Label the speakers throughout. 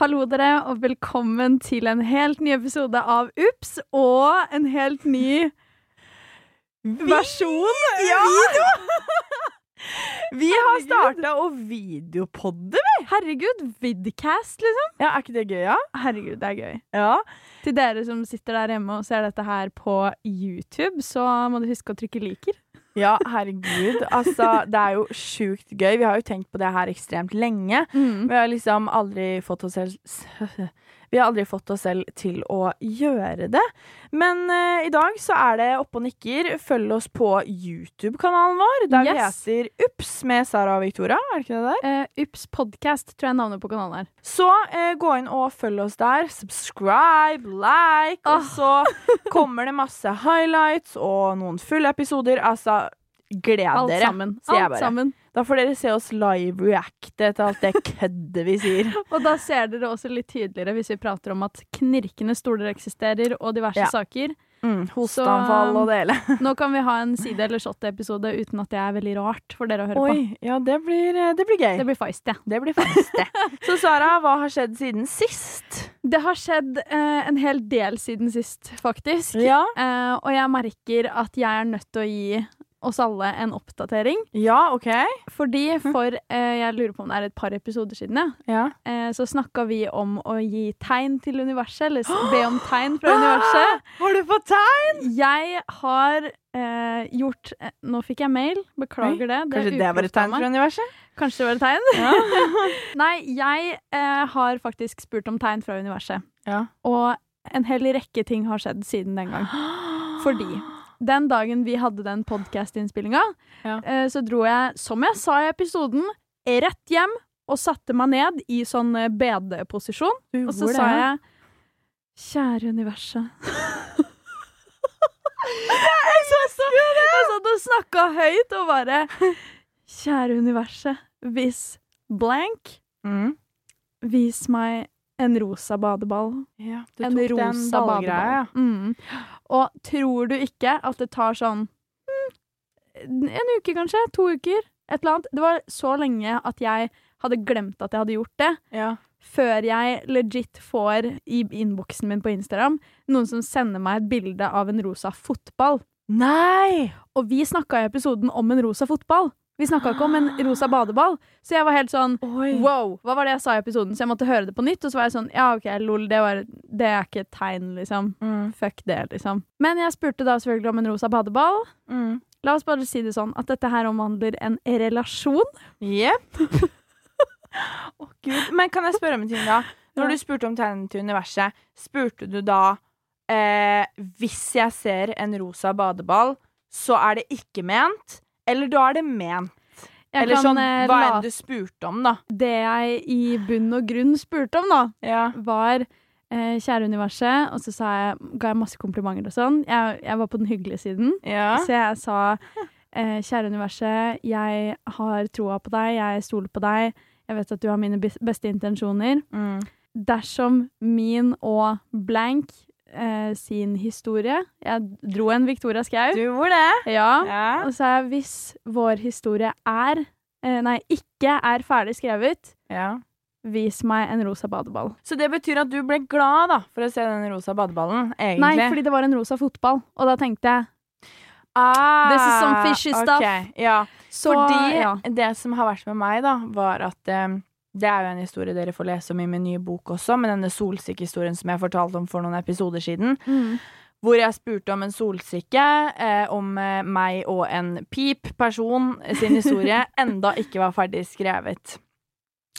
Speaker 1: Hallo dere, og velkommen til en helt ny episode av Ups, og en helt ny versjon. Ja!
Speaker 2: Vi har starta å videopodde.
Speaker 1: Herregud, vidcast, liksom.
Speaker 2: Ja, er ikke det gøy, ja?
Speaker 1: Herregud, det er gøy.
Speaker 2: Ja.
Speaker 1: Til dere som sitter der hjemme og ser dette her på YouTube, så må du huske å trykke liker.
Speaker 2: Ja, herregud. Altså, det er jo sjukt gøy. Vi har jo tenkt på det her ekstremt lenge. Vi har liksom aldri fått oss selv Vi har aldri fått oss selv til å gjøre det. Men eh, i dag så er det oppe og nikker. Følg oss på YouTube-kanalen vår, der
Speaker 1: Yes.
Speaker 2: vi heter Ups med Sara og Victoria. Er det ikke det der?
Speaker 1: Eh, Ups podcast, tror jeg navnet på kanalen er.
Speaker 2: Så eh, gå inn og følg oss der. Subscribe, like, og så kommer det masse highlights og noen fulle episoder. Altså, gled
Speaker 1: Alt
Speaker 2: dere.
Speaker 1: sammen.
Speaker 2: sier jeg
Speaker 1: Alt
Speaker 2: bare.
Speaker 1: sammen.
Speaker 2: Da får dere se oss live reacte til alt det køddet vi sier.
Speaker 1: Og da ser dere også litt tydeligere hvis vi prater om at knirkende stoler eksisterer, og diverse
Speaker 2: Ja.
Speaker 1: saker.
Speaker 2: Mm, Hosteanfall og det hele.
Speaker 1: Nå kan vi ha en side- eller shot-episode uten at det er veldig rart for dere å høre på.
Speaker 2: Oi, ja, det blir, eh, det blir gøy.
Speaker 1: Det blir feist, ja.
Speaker 2: Det blir faktisk det. Så Sara, hva har skjedd siden sist?
Speaker 1: Det har skjedd eh, en hel del siden sist, faktisk.
Speaker 2: Ja,
Speaker 1: Eh, og jeg merker at jeg er nødt til å gi oss alle en oppdatering.
Speaker 2: ja OK.
Speaker 1: Fordi
Speaker 2: Mhm.
Speaker 1: for eh, jeg lurer på om det er et par episoder siden, ja,
Speaker 2: Ja.
Speaker 1: eh, så snakka vi om å gi tegn til universet. Eller s- be om tegn fra universet.
Speaker 2: Har Ah, du fått tegn?
Speaker 1: Jeg har eh, gjort eh, Nå fikk jeg mail, beklager det. er
Speaker 2: Kanskje det var
Speaker 1: uklokt
Speaker 2: et
Speaker 1: av
Speaker 2: tegn
Speaker 1: meg.
Speaker 2: fra universet?
Speaker 1: Kanskje det var et tegn? Nei, jeg eh, har faktisk spurt om tegn fra universet.
Speaker 2: Ja.
Speaker 1: Og en hel rekke ting har skjedd siden den gang. Fordi den dagen vi hadde den podkast-innspillinga,
Speaker 2: Ja.
Speaker 1: eh, så dro jeg, som jeg sa i episoden, rett hjem og satte meg ned i sånn eh, bedeposisjon.
Speaker 2: Du
Speaker 1: Og så
Speaker 2: gjorde
Speaker 1: sa
Speaker 2: det.
Speaker 1: jeg Kjære universet. Jeg satt og snakka høyt og bare Kjære universet, hvis blank
Speaker 2: mm.
Speaker 1: Vis meg en rosa badeball.
Speaker 2: Ja, du
Speaker 1: En
Speaker 2: tok den
Speaker 1: rosa
Speaker 2: ballgreia,
Speaker 1: badeball. Mm. Og tror du ikke at det tar sånn mm, En uke, kanskje? To uker? Et eller annet. Det var så lenge at jeg hadde glemt at jeg hadde gjort det,
Speaker 2: Ja.
Speaker 1: før jeg legit får i innboksen min på Instagram noen som sender meg et bilde av en rosa fotball.
Speaker 2: Nei!
Speaker 1: Og vi snakka i episoden om en rosa fotball. Vi snakka ikke om en rosa badeball. Så jeg var helt sånn
Speaker 2: Oi.
Speaker 1: Wow, hva var det jeg sa i episoden? Så jeg måtte høre det på nytt, og så var jeg sånn, ja ok, lol, det, var, det er ikke et tegn, liksom.
Speaker 2: Mm.
Speaker 1: Fuck det, liksom. Men jeg spurte da selvfølgelig om en rosa badeball.
Speaker 2: Mm.
Speaker 1: La oss bare si det sånn, at dette her omhandler en relasjon.
Speaker 2: Jepp. Å, Gud. Men kan jeg spørre om en ting, da?
Speaker 1: Ja.
Speaker 2: Når du spurte om tegnene til universet, spurte du da eh, Hvis jeg ser en rosa badeball, så er det ikke ment? Eller da er det ment?
Speaker 1: Jeg
Speaker 2: Eller
Speaker 1: kan,
Speaker 2: sånn,
Speaker 1: eh,
Speaker 2: hva
Speaker 1: la-
Speaker 2: enn du spurte om, da?
Speaker 1: Det jeg i bunn og grunn spurte om da,
Speaker 2: Ja.
Speaker 1: var eh, kjære universet, og så sa jeg, ga jeg masse komplimenter og sånn. Jeg, jeg var på den hyggelige siden.
Speaker 2: Ja.
Speaker 1: Så jeg sa eh, Kjære universet, jeg har troa på deg, jeg stoler på deg. Jeg vet at du har mine bes- beste intensjoner.
Speaker 2: Mm.
Speaker 1: Dersom min og blank eh, sin historie Jeg dro en Victoria
Speaker 2: Du
Speaker 1: Skau.
Speaker 2: gjorde det.
Speaker 1: Ja.
Speaker 2: Ja.
Speaker 1: Og så sa jeg hvis vår historie er eh, Nei, ikke er ferdig skrevet,
Speaker 2: ja.
Speaker 1: vis meg en rosa badeball.
Speaker 2: Så det betyr at du ble glad da for å se den rosa badeballen, egentlig?
Speaker 1: Nei, fordi det var en rosa fotball, og da tenkte jeg
Speaker 2: ah,
Speaker 1: This is some sånn fishy stuff.
Speaker 2: ok, Ja.
Speaker 1: så,
Speaker 2: Fordi
Speaker 1: ja.
Speaker 2: det som har vært med meg, da, var at eh, Det er jo en historie dere får lese om i min nye bok også, men denne solsikkehistorien som jeg fortalte om for noen episoder siden,
Speaker 1: Mm.
Speaker 2: hvor jeg spurte om en solsikke, eh, om eh, meg og en pip-person sin historie, enda ikke var ferdig skrevet.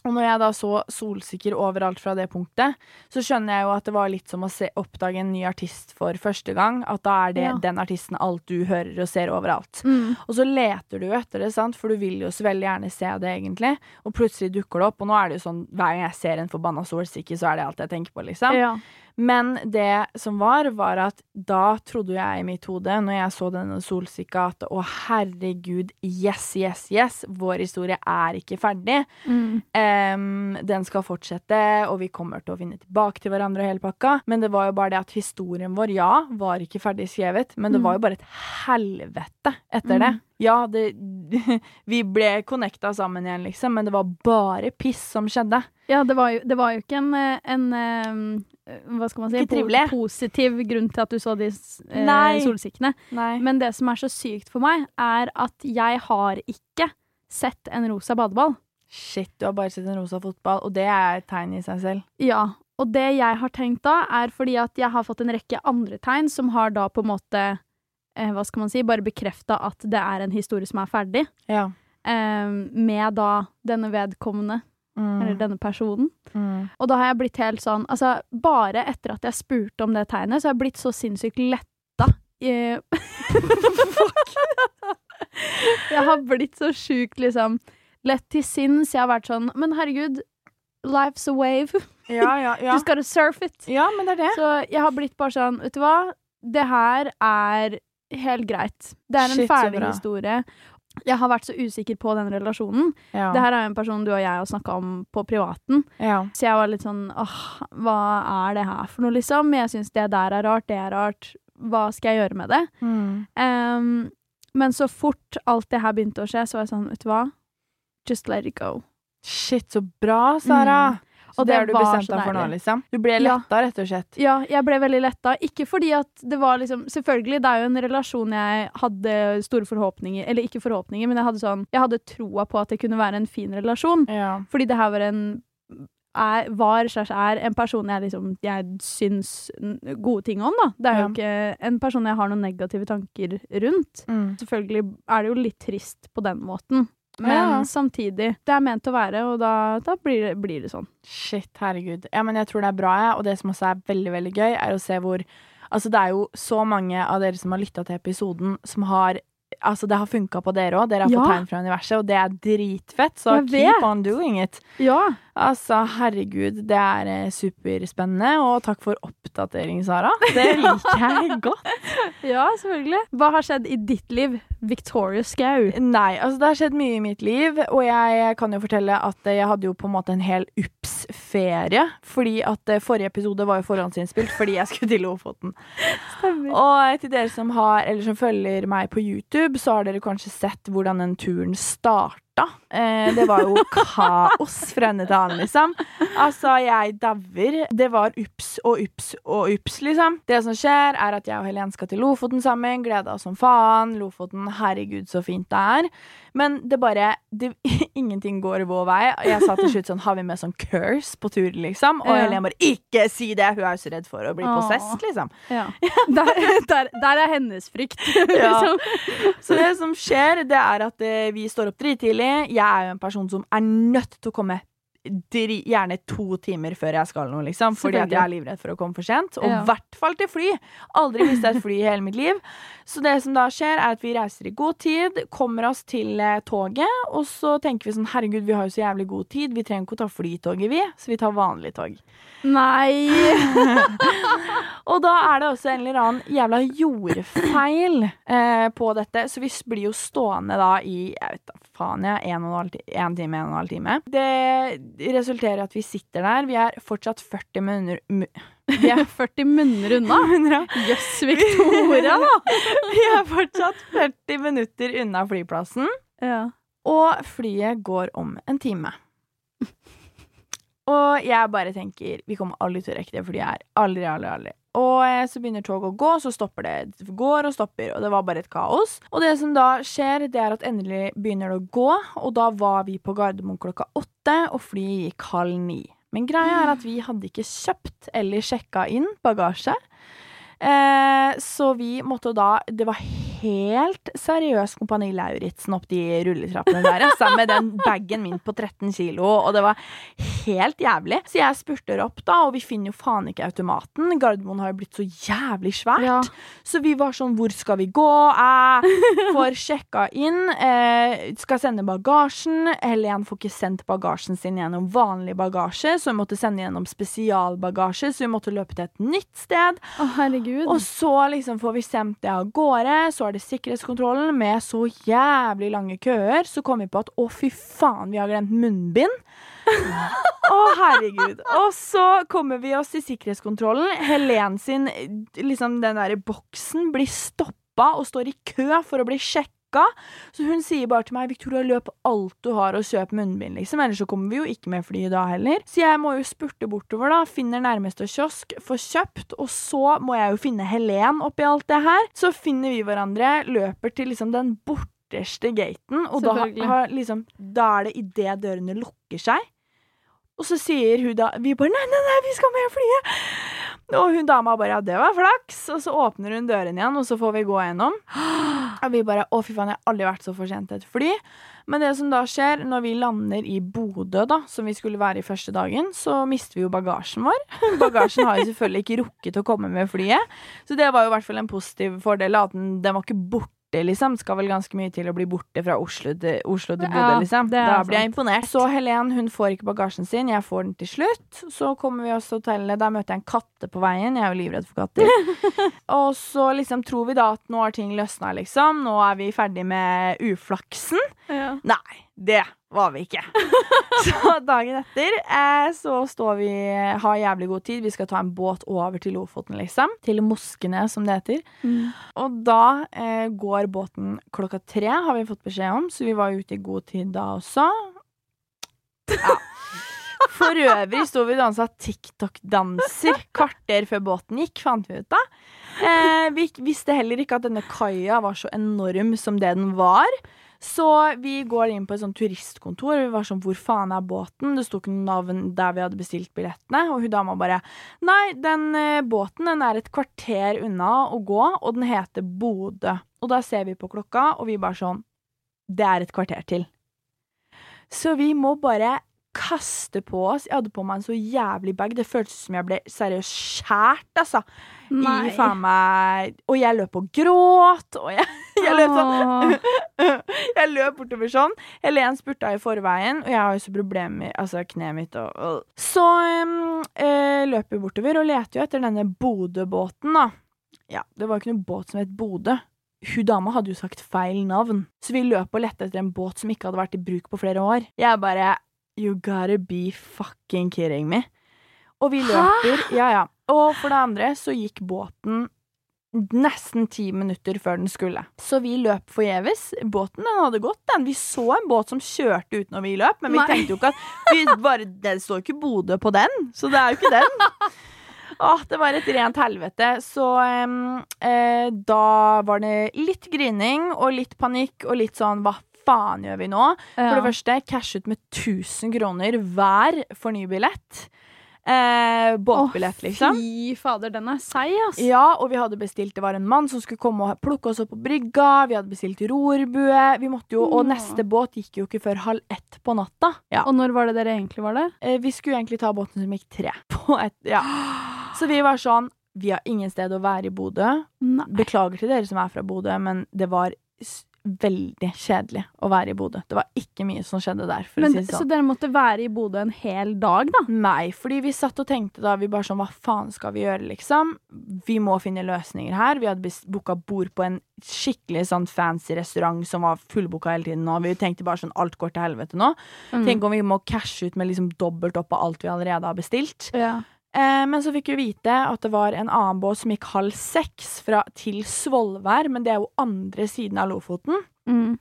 Speaker 2: Og når jeg da så solsikker overalt fra det punktet, så skjønner jeg jo at det var litt som å se, oppdage en ny artist for første gang. At da er det
Speaker 1: Ja.
Speaker 2: den artisten alt du hører og ser overalt.
Speaker 1: Mm.
Speaker 2: Og så leter du jo etter det, sant? for du vil jo så veldig gjerne se det, egentlig. Og plutselig dukker det opp, og nå er det jo sånn hver gang jeg ser en forbanna solsikke, så er det alt jeg tenker på, liksom.
Speaker 1: Ja.
Speaker 2: Men det som var, var at da trodde jeg i mitt hode, når jeg så denne solsikka, at å herregud, yes, yes, yes, vår historie er ikke ferdig.
Speaker 1: Mm.
Speaker 2: Eh, Em, den skal fortsette, og vi kommer til å finne tilbake til hverandre og hele pakka. Men det var jo bare det at historien vår, ja, var ikke ferdig skrevet, men det
Speaker 1: Mm.
Speaker 2: var jo bare et helvete
Speaker 1: Mm.
Speaker 2: etter det. Ja, det Vi ble connecta sammen igjen, liksom, men det var bare piss som skjedde.
Speaker 1: Ja, det var jo, det var jo ikke en, eh, en eh, Hva skal man si?
Speaker 2: Ikke trivelig.
Speaker 1: Po positiv grunn til at du så de eh,
Speaker 2: Nei.
Speaker 1: solsikkene.
Speaker 2: Nei.
Speaker 1: Men det som er så sykt for meg, er at jeg har ikke sett en rosa badeball.
Speaker 2: Shit, du har bare sett en rosa fotball, og det er et tegn i seg selv.
Speaker 1: Ja, og det jeg har tenkt da, er fordi at jeg har fått en rekke andre tegn som har da på en måte eh, Hva skal man si? Bare bekrefta at det er en historie som er ferdig.
Speaker 2: Ja.
Speaker 1: Eh, med da denne vedkommende, eller denne personen.
Speaker 2: Mm.
Speaker 1: Og da har jeg blitt helt sånn Altså, bare etter at jeg spurte om det tegnet, så har jeg blitt så sinnssykt letta. Eh, jeg har blitt så sjukt, liksom, lett til sinns. Jeg har vært sånn Men herregud, life's a wave.
Speaker 2: Ja, ja, ja.
Speaker 1: Du skal jo surf it.
Speaker 2: ja, men det er det.
Speaker 1: Så jeg har blitt bare sånn Vet du hva? Det her er helt greit. Det er en
Speaker 2: Shit, så
Speaker 1: ferdig
Speaker 2: bra.
Speaker 1: historie. Jeg har vært så usikker på den relasjonen.
Speaker 2: Ja.
Speaker 1: Det her er jo en person du og jeg har snakka om på privaten.
Speaker 2: ja.
Speaker 1: Så jeg var litt sånn åh, hva er det her for noe, liksom? Jeg syns det der er rart, det er rart. Hva skal jeg gjøre med det?
Speaker 2: Mm.
Speaker 1: Ehm, men så fort alt det her begynte å skje, så var jeg sånn, vet du hva? Just let it go.
Speaker 2: Shit, så bra, Sara!
Speaker 1: Mm.
Speaker 2: Så
Speaker 1: Og
Speaker 2: det
Speaker 1: det
Speaker 2: har du
Speaker 1: var
Speaker 2: bestemt
Speaker 1: så
Speaker 2: deg for nå,
Speaker 1: deilig.
Speaker 2: liksom? Du ble
Speaker 1: Ja.
Speaker 2: letta, rett og slett?
Speaker 1: Ja, jeg ble veldig letta. Ikke fordi at det var liksom Selvfølgelig, det er jo en relasjon jeg hadde store forhåpninger Eller ikke forhåpninger, men jeg hadde sånn Jeg hadde troa på at det kunne være en fin relasjon.
Speaker 2: Ja.
Speaker 1: Fordi det her var en er, var slash er en person jeg liksom Jeg syns n- gode ting om, da. Det er
Speaker 2: Ja.
Speaker 1: jo ikke en person jeg har noen negative tanker rundt.
Speaker 2: Mm.
Speaker 1: Selvfølgelig er det jo litt trist på den måten, men
Speaker 2: Ja.
Speaker 1: samtidig Det er ment å være, og da, da blir, det, blir det sånn.
Speaker 2: Shit, herregud. Ja, men jeg tror det er bra, jeg. Og det som også er veldig, veldig gøy, er å se hvor Altså, det er jo så mange av dere som har lytta til episoden, som har Altså, det har funka på dere òg. Dere har fått
Speaker 1: Ja.
Speaker 2: tegn fra universet, og det er dritfett. Så
Speaker 1: Jeg
Speaker 2: keep
Speaker 1: vet.
Speaker 2: on doing it.
Speaker 1: Ja.
Speaker 2: Altså, herregud, det er eh, superspennende. Og takk for oppdatering, Sara. Det liker jeg godt.
Speaker 1: Ja, selvfølgelig. Hva har skjedd i ditt liv? Victoria Skau.
Speaker 2: Nei, altså det har skjedd mye i mitt liv, og jeg kan jo fortelle at eh, jeg hadde jo på en måte en hel ups-ferie. Fordi at eh, forrige episode var jo forhåndsinnspilt fordi jeg skulle til Lofoten.
Speaker 1: Stemmer.
Speaker 2: Og eh, til dere som har, eller som følger meg på YouTube, så har dere kanskje sett hvordan den turen starta. Eh, det var jo kaos fra ende til annen, liksom. Altså, jeg dauer. Det var ups og ups og ups, liksom. Det som skjer, er at jeg og Helen skal til Lofoten sammen. Gleda oss som faen. Lofoten, herregud, så fint det er. Men det bare det, Ingenting går vår vei. Jeg sa til slutt sånn Har vi med sånn curse på tur, liksom? Og
Speaker 1: Ja.
Speaker 2: Helen bare Ikke si det! Hun er jo så redd for å bli
Speaker 1: Åh.
Speaker 2: possessed, liksom.
Speaker 1: Ja. Der, der, der er hennes frykt.
Speaker 2: Ja.
Speaker 1: Liksom.
Speaker 2: Så det som skjer, det er at eh, vi står opp drittidlig. Jeg er jo en person som er nødt til å komme dri gjerne to timer før jeg skal noe, liksom. Fordi at jeg er livredd for å komme for sent. Og i
Speaker 1: Ja.
Speaker 2: hvert fall til fly. Aldri mista et fly i hele mitt liv. Så det som da skjer, er at vi reiser i god tid, kommer oss til eh, toget, og så tenker vi sånn herregud, vi har jo så jævlig god tid, vi trenger ikke å ta flytoget, vi. Så vi tar vanlig tog.
Speaker 1: Nei.
Speaker 2: Og da er det også en eller annen jævla jordfeil eh, på dette, så vi s- blir jo stående da i jeg vet da faen jeg, en, og en, halv, ti- en time, en og en halv time. Det resulterer i at vi sitter der. Vi er fortsatt 40 minutter mu- Vi er
Speaker 1: 40 munner unna.
Speaker 2: unna.
Speaker 1: Jøss, Victoria, da.
Speaker 2: Vi er fortsatt 40 minutter unna flyplassen,
Speaker 1: Ja.
Speaker 2: og flyet går om en time. Og jeg bare tenker Vi kommer aldri til å rekke det, for de er aldri, aldri, aldri. Og eh, så begynner toget å gå, så stopper det. Det går og stopper, og det var bare et kaos. Og det som da skjer, det er at endelig begynner det å gå, og da var vi på Gardermoen klokka åtte, og flyet gikk halv ni. Men greia er at vi hadde ikke kjøpt eller sjekka inn bagasje. Eh, så vi måtte da Det var helt seriøs Kompani Lauritzen opp de rulletrappene der. altså, Sammen med den bagen min på 13 kilo, og det var helt jævlig. Så jeg spurter opp, da, og vi finner jo faen ikke automaten. Gardermoen har jo blitt så jævlig svært.
Speaker 1: Ja.
Speaker 2: Så vi var sånn Hvor skal vi gå? Eh, får sjekka inn. Eh, skal sende bagasjen. Helen får ikke sendt bagasjen sin gjennom vanlig bagasje, så hun måtte sende gjennom spesialbagasje, så hun måtte løpe til et nytt sted.
Speaker 1: Å, herregud.
Speaker 2: Og så liksom får vi sendt det av gårde, så er var det sikkerhetskontrollen med så jævlig lange køer, så kom vi på at å, fy faen, vi har glemt munnbind. Å, herregud. Og så kommer vi oss til sikkerhetskontrollen. Helen sin, liksom den derre boksen, blir stoppa og står i kø for å bli sjekka. Så hun sier bare til meg 'Victoria, løp alt du har og kjøp munnbind', liksom. Ellers så kommer vi jo ikke med fly da heller. Så jeg må jo spurte bortover, da. Finner nærmeste kiosk, får kjøpt. Og så må jeg jo finne Helen oppi alt det her. Så finner vi hverandre, løper til liksom den borterste gaten, og da,
Speaker 1: Selvfølgelig.
Speaker 2: har, liksom, da er det idet dørene lukker seg. Og så sier hun da Vi bare 'Nei, nei, nei, vi skal med flyet'. Og hun dama bare 'Ja, det var flaks'. Og så åpner hun døren igjen, og så får vi gå gjennom. Og vi bare 'Å, fy faen, jeg har aldri vært så for sent til et fly'. Men det som da skjer, når vi lander i Bodø, da, som vi skulle være i første dagen, så mister vi jo bagasjen vår. Bagasjen har jo selvfølgelig ikke rukket å komme med flyet. Så det var jo i hvert fall en positiv fordel, at den, den var ikke borte, liksom. Skal vel ganske mye til å bli borte fra Oslo til, Oslo til Bodø,
Speaker 1: Ja,
Speaker 2: liksom.
Speaker 1: det er
Speaker 2: Da blir jeg imponert. Så Helen, hun får ikke bagasjen sin, jeg får den til slutt. Så kommer vi oss til hotellet, der møter jeg en katte på veien, jeg er jo livredd for katter. Og så liksom tror vi da at nå har ting løsna, liksom. Nå er vi ferdig med uflaksen.
Speaker 1: Ja.
Speaker 2: Nei, det var vi ikke. Så dagen etter eh, så står vi har jævlig god tid. Vi skal ta en båt over til Lofoten, liksom. Til Moskene, som det heter.
Speaker 1: Mm.
Speaker 2: Og da eh, går båten klokka tre, har vi fått beskjed om, så vi var ute i god tid da også. Ja. For øvrig sto vi og dansa TikTok-danser kvarter før båten gikk, fant vi ut av. Eh, vi ikke- visste heller ikke at denne kaia var så enorm som det den var. Så vi går inn på et sånt turistkontor, og vi var sånn 'Hvor faen er båten?' Det sto ikke noe navn der vi hadde bestilt billettene, og hun dama bare Nei, den eh, båten den er et kvarter unna å gå, og den heter Bodø. Og da ser vi på klokka, og vi bare sånn Det er et kvarter til. Så vi må bare kaste på oss. Jeg hadde på meg en så jævlig bag. Det føltes som jeg ble seriøst skjært, altså. I faen meg Og jeg løp og gråt, og jeg, jeg løp sånn
Speaker 1: Åh.
Speaker 2: jeg løp bortover sånn. Helen spurta i forveien, og jeg har jo så problemer Altså kneet mitt og og- Så um, eh, løp vi bortover og leter jo etter denne Bodø-båten, da. Ja, det var jo ikke noen båt som het Bodø. Hun dama hadde jo sagt feil navn, så vi løp og lette etter en båt som ikke hadde vært i bruk på flere år. Jeg bare You gotta be fucking kidding me. Og vi løper. Ja, ja. Og for det andre så gikk båten nesten ti minutter før den skulle. Så vi løp forgjeves. Båten den hadde gått, den. Vi så en båt som kjørte ut når vi løp, men vi
Speaker 1: Nei.
Speaker 2: tenkte jo ikke at vi bare, Det står jo ikke Bodø på den, så det er jo ikke den. Åh, det var et rent helvete. Så em, eh, da var det litt grining og litt panikk og litt sånn hva faen gjør vi nå? For det
Speaker 1: Ja.
Speaker 2: første, cash ut med 1000 kroner hver for ny billett. Eh, båtbillett,
Speaker 1: Å,
Speaker 2: liksom.
Speaker 1: Fy fader, den er seig, ass.
Speaker 2: Ja, og vi hadde bestilt Det var en mann som skulle komme og plukke oss opp på brygga. Vi hadde bestilt rorbue. Vi måtte jo, Og
Speaker 1: Åh.
Speaker 2: neste båt gikk jo ikke før halv ett på natta. Ja.
Speaker 1: Og når var det dere egentlig var der?
Speaker 2: Eh, vi skulle egentlig ta båten som gikk tre. På et, ja. Så vi var sånn Vi har ingen sted å være i Bodø.
Speaker 1: Nei.
Speaker 2: Beklager til dere som er fra Bodø, men det var s- veldig kjedelig å være i Bodø. Det var ikke mye som skjedde der. For
Speaker 1: Men,
Speaker 2: å si det sånn.
Speaker 1: Så dere måtte være i Bodø en hel dag, da?
Speaker 2: Nei, fordi vi satt og tenkte da Vi bare sånn, hva faen skal vi gjøre liksom Vi må finne løsninger her Vi hadde bes- boket bord på en skikkelig sånn fancy restaurant Som var fullboket hele tiden Og vi tenkte bare sånn, alt går til helvete nå
Speaker 1: Mm.
Speaker 2: Tenk om vi må cashe ut med liksom dobbelt opp av alt vi allerede har bestilt
Speaker 1: Ja.
Speaker 2: Eh, men så fikk vi vite at det var en annen båt som gikk halv seks fra, til Svolvær, men det er jo andre siden av Lofoten.
Speaker 1: Mm.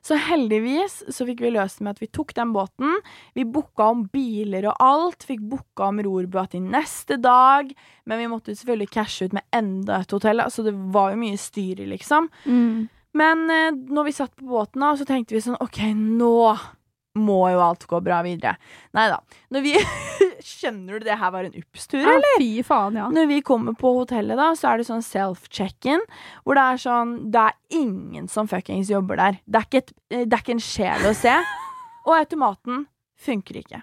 Speaker 2: Så heldigvis så fikk vi løst det med at vi tok den båten. Vi booka om biler og alt. Fikk booka om rorbua til neste dag. Men vi måtte selvfølgelig cashe ut med enda et hotell, da, så det var jo mye styr i, liksom.
Speaker 1: Mm.
Speaker 2: Men eh, når vi satt på båten, da, så tenkte vi sånn OK, nå må jo alt gå bra videre. Nei da. Når vi Skjønner du det her var en UPS-tur,
Speaker 1: Ja, fy faen, ja.
Speaker 2: når vi kommer på hotellet, da, så er det sånn self-check-in. Hvor det er sånn Det er ingen som fuckings jobber der. Det er ikke, et, eh, det er ikke en sjel å se. Og automaten funker ikke.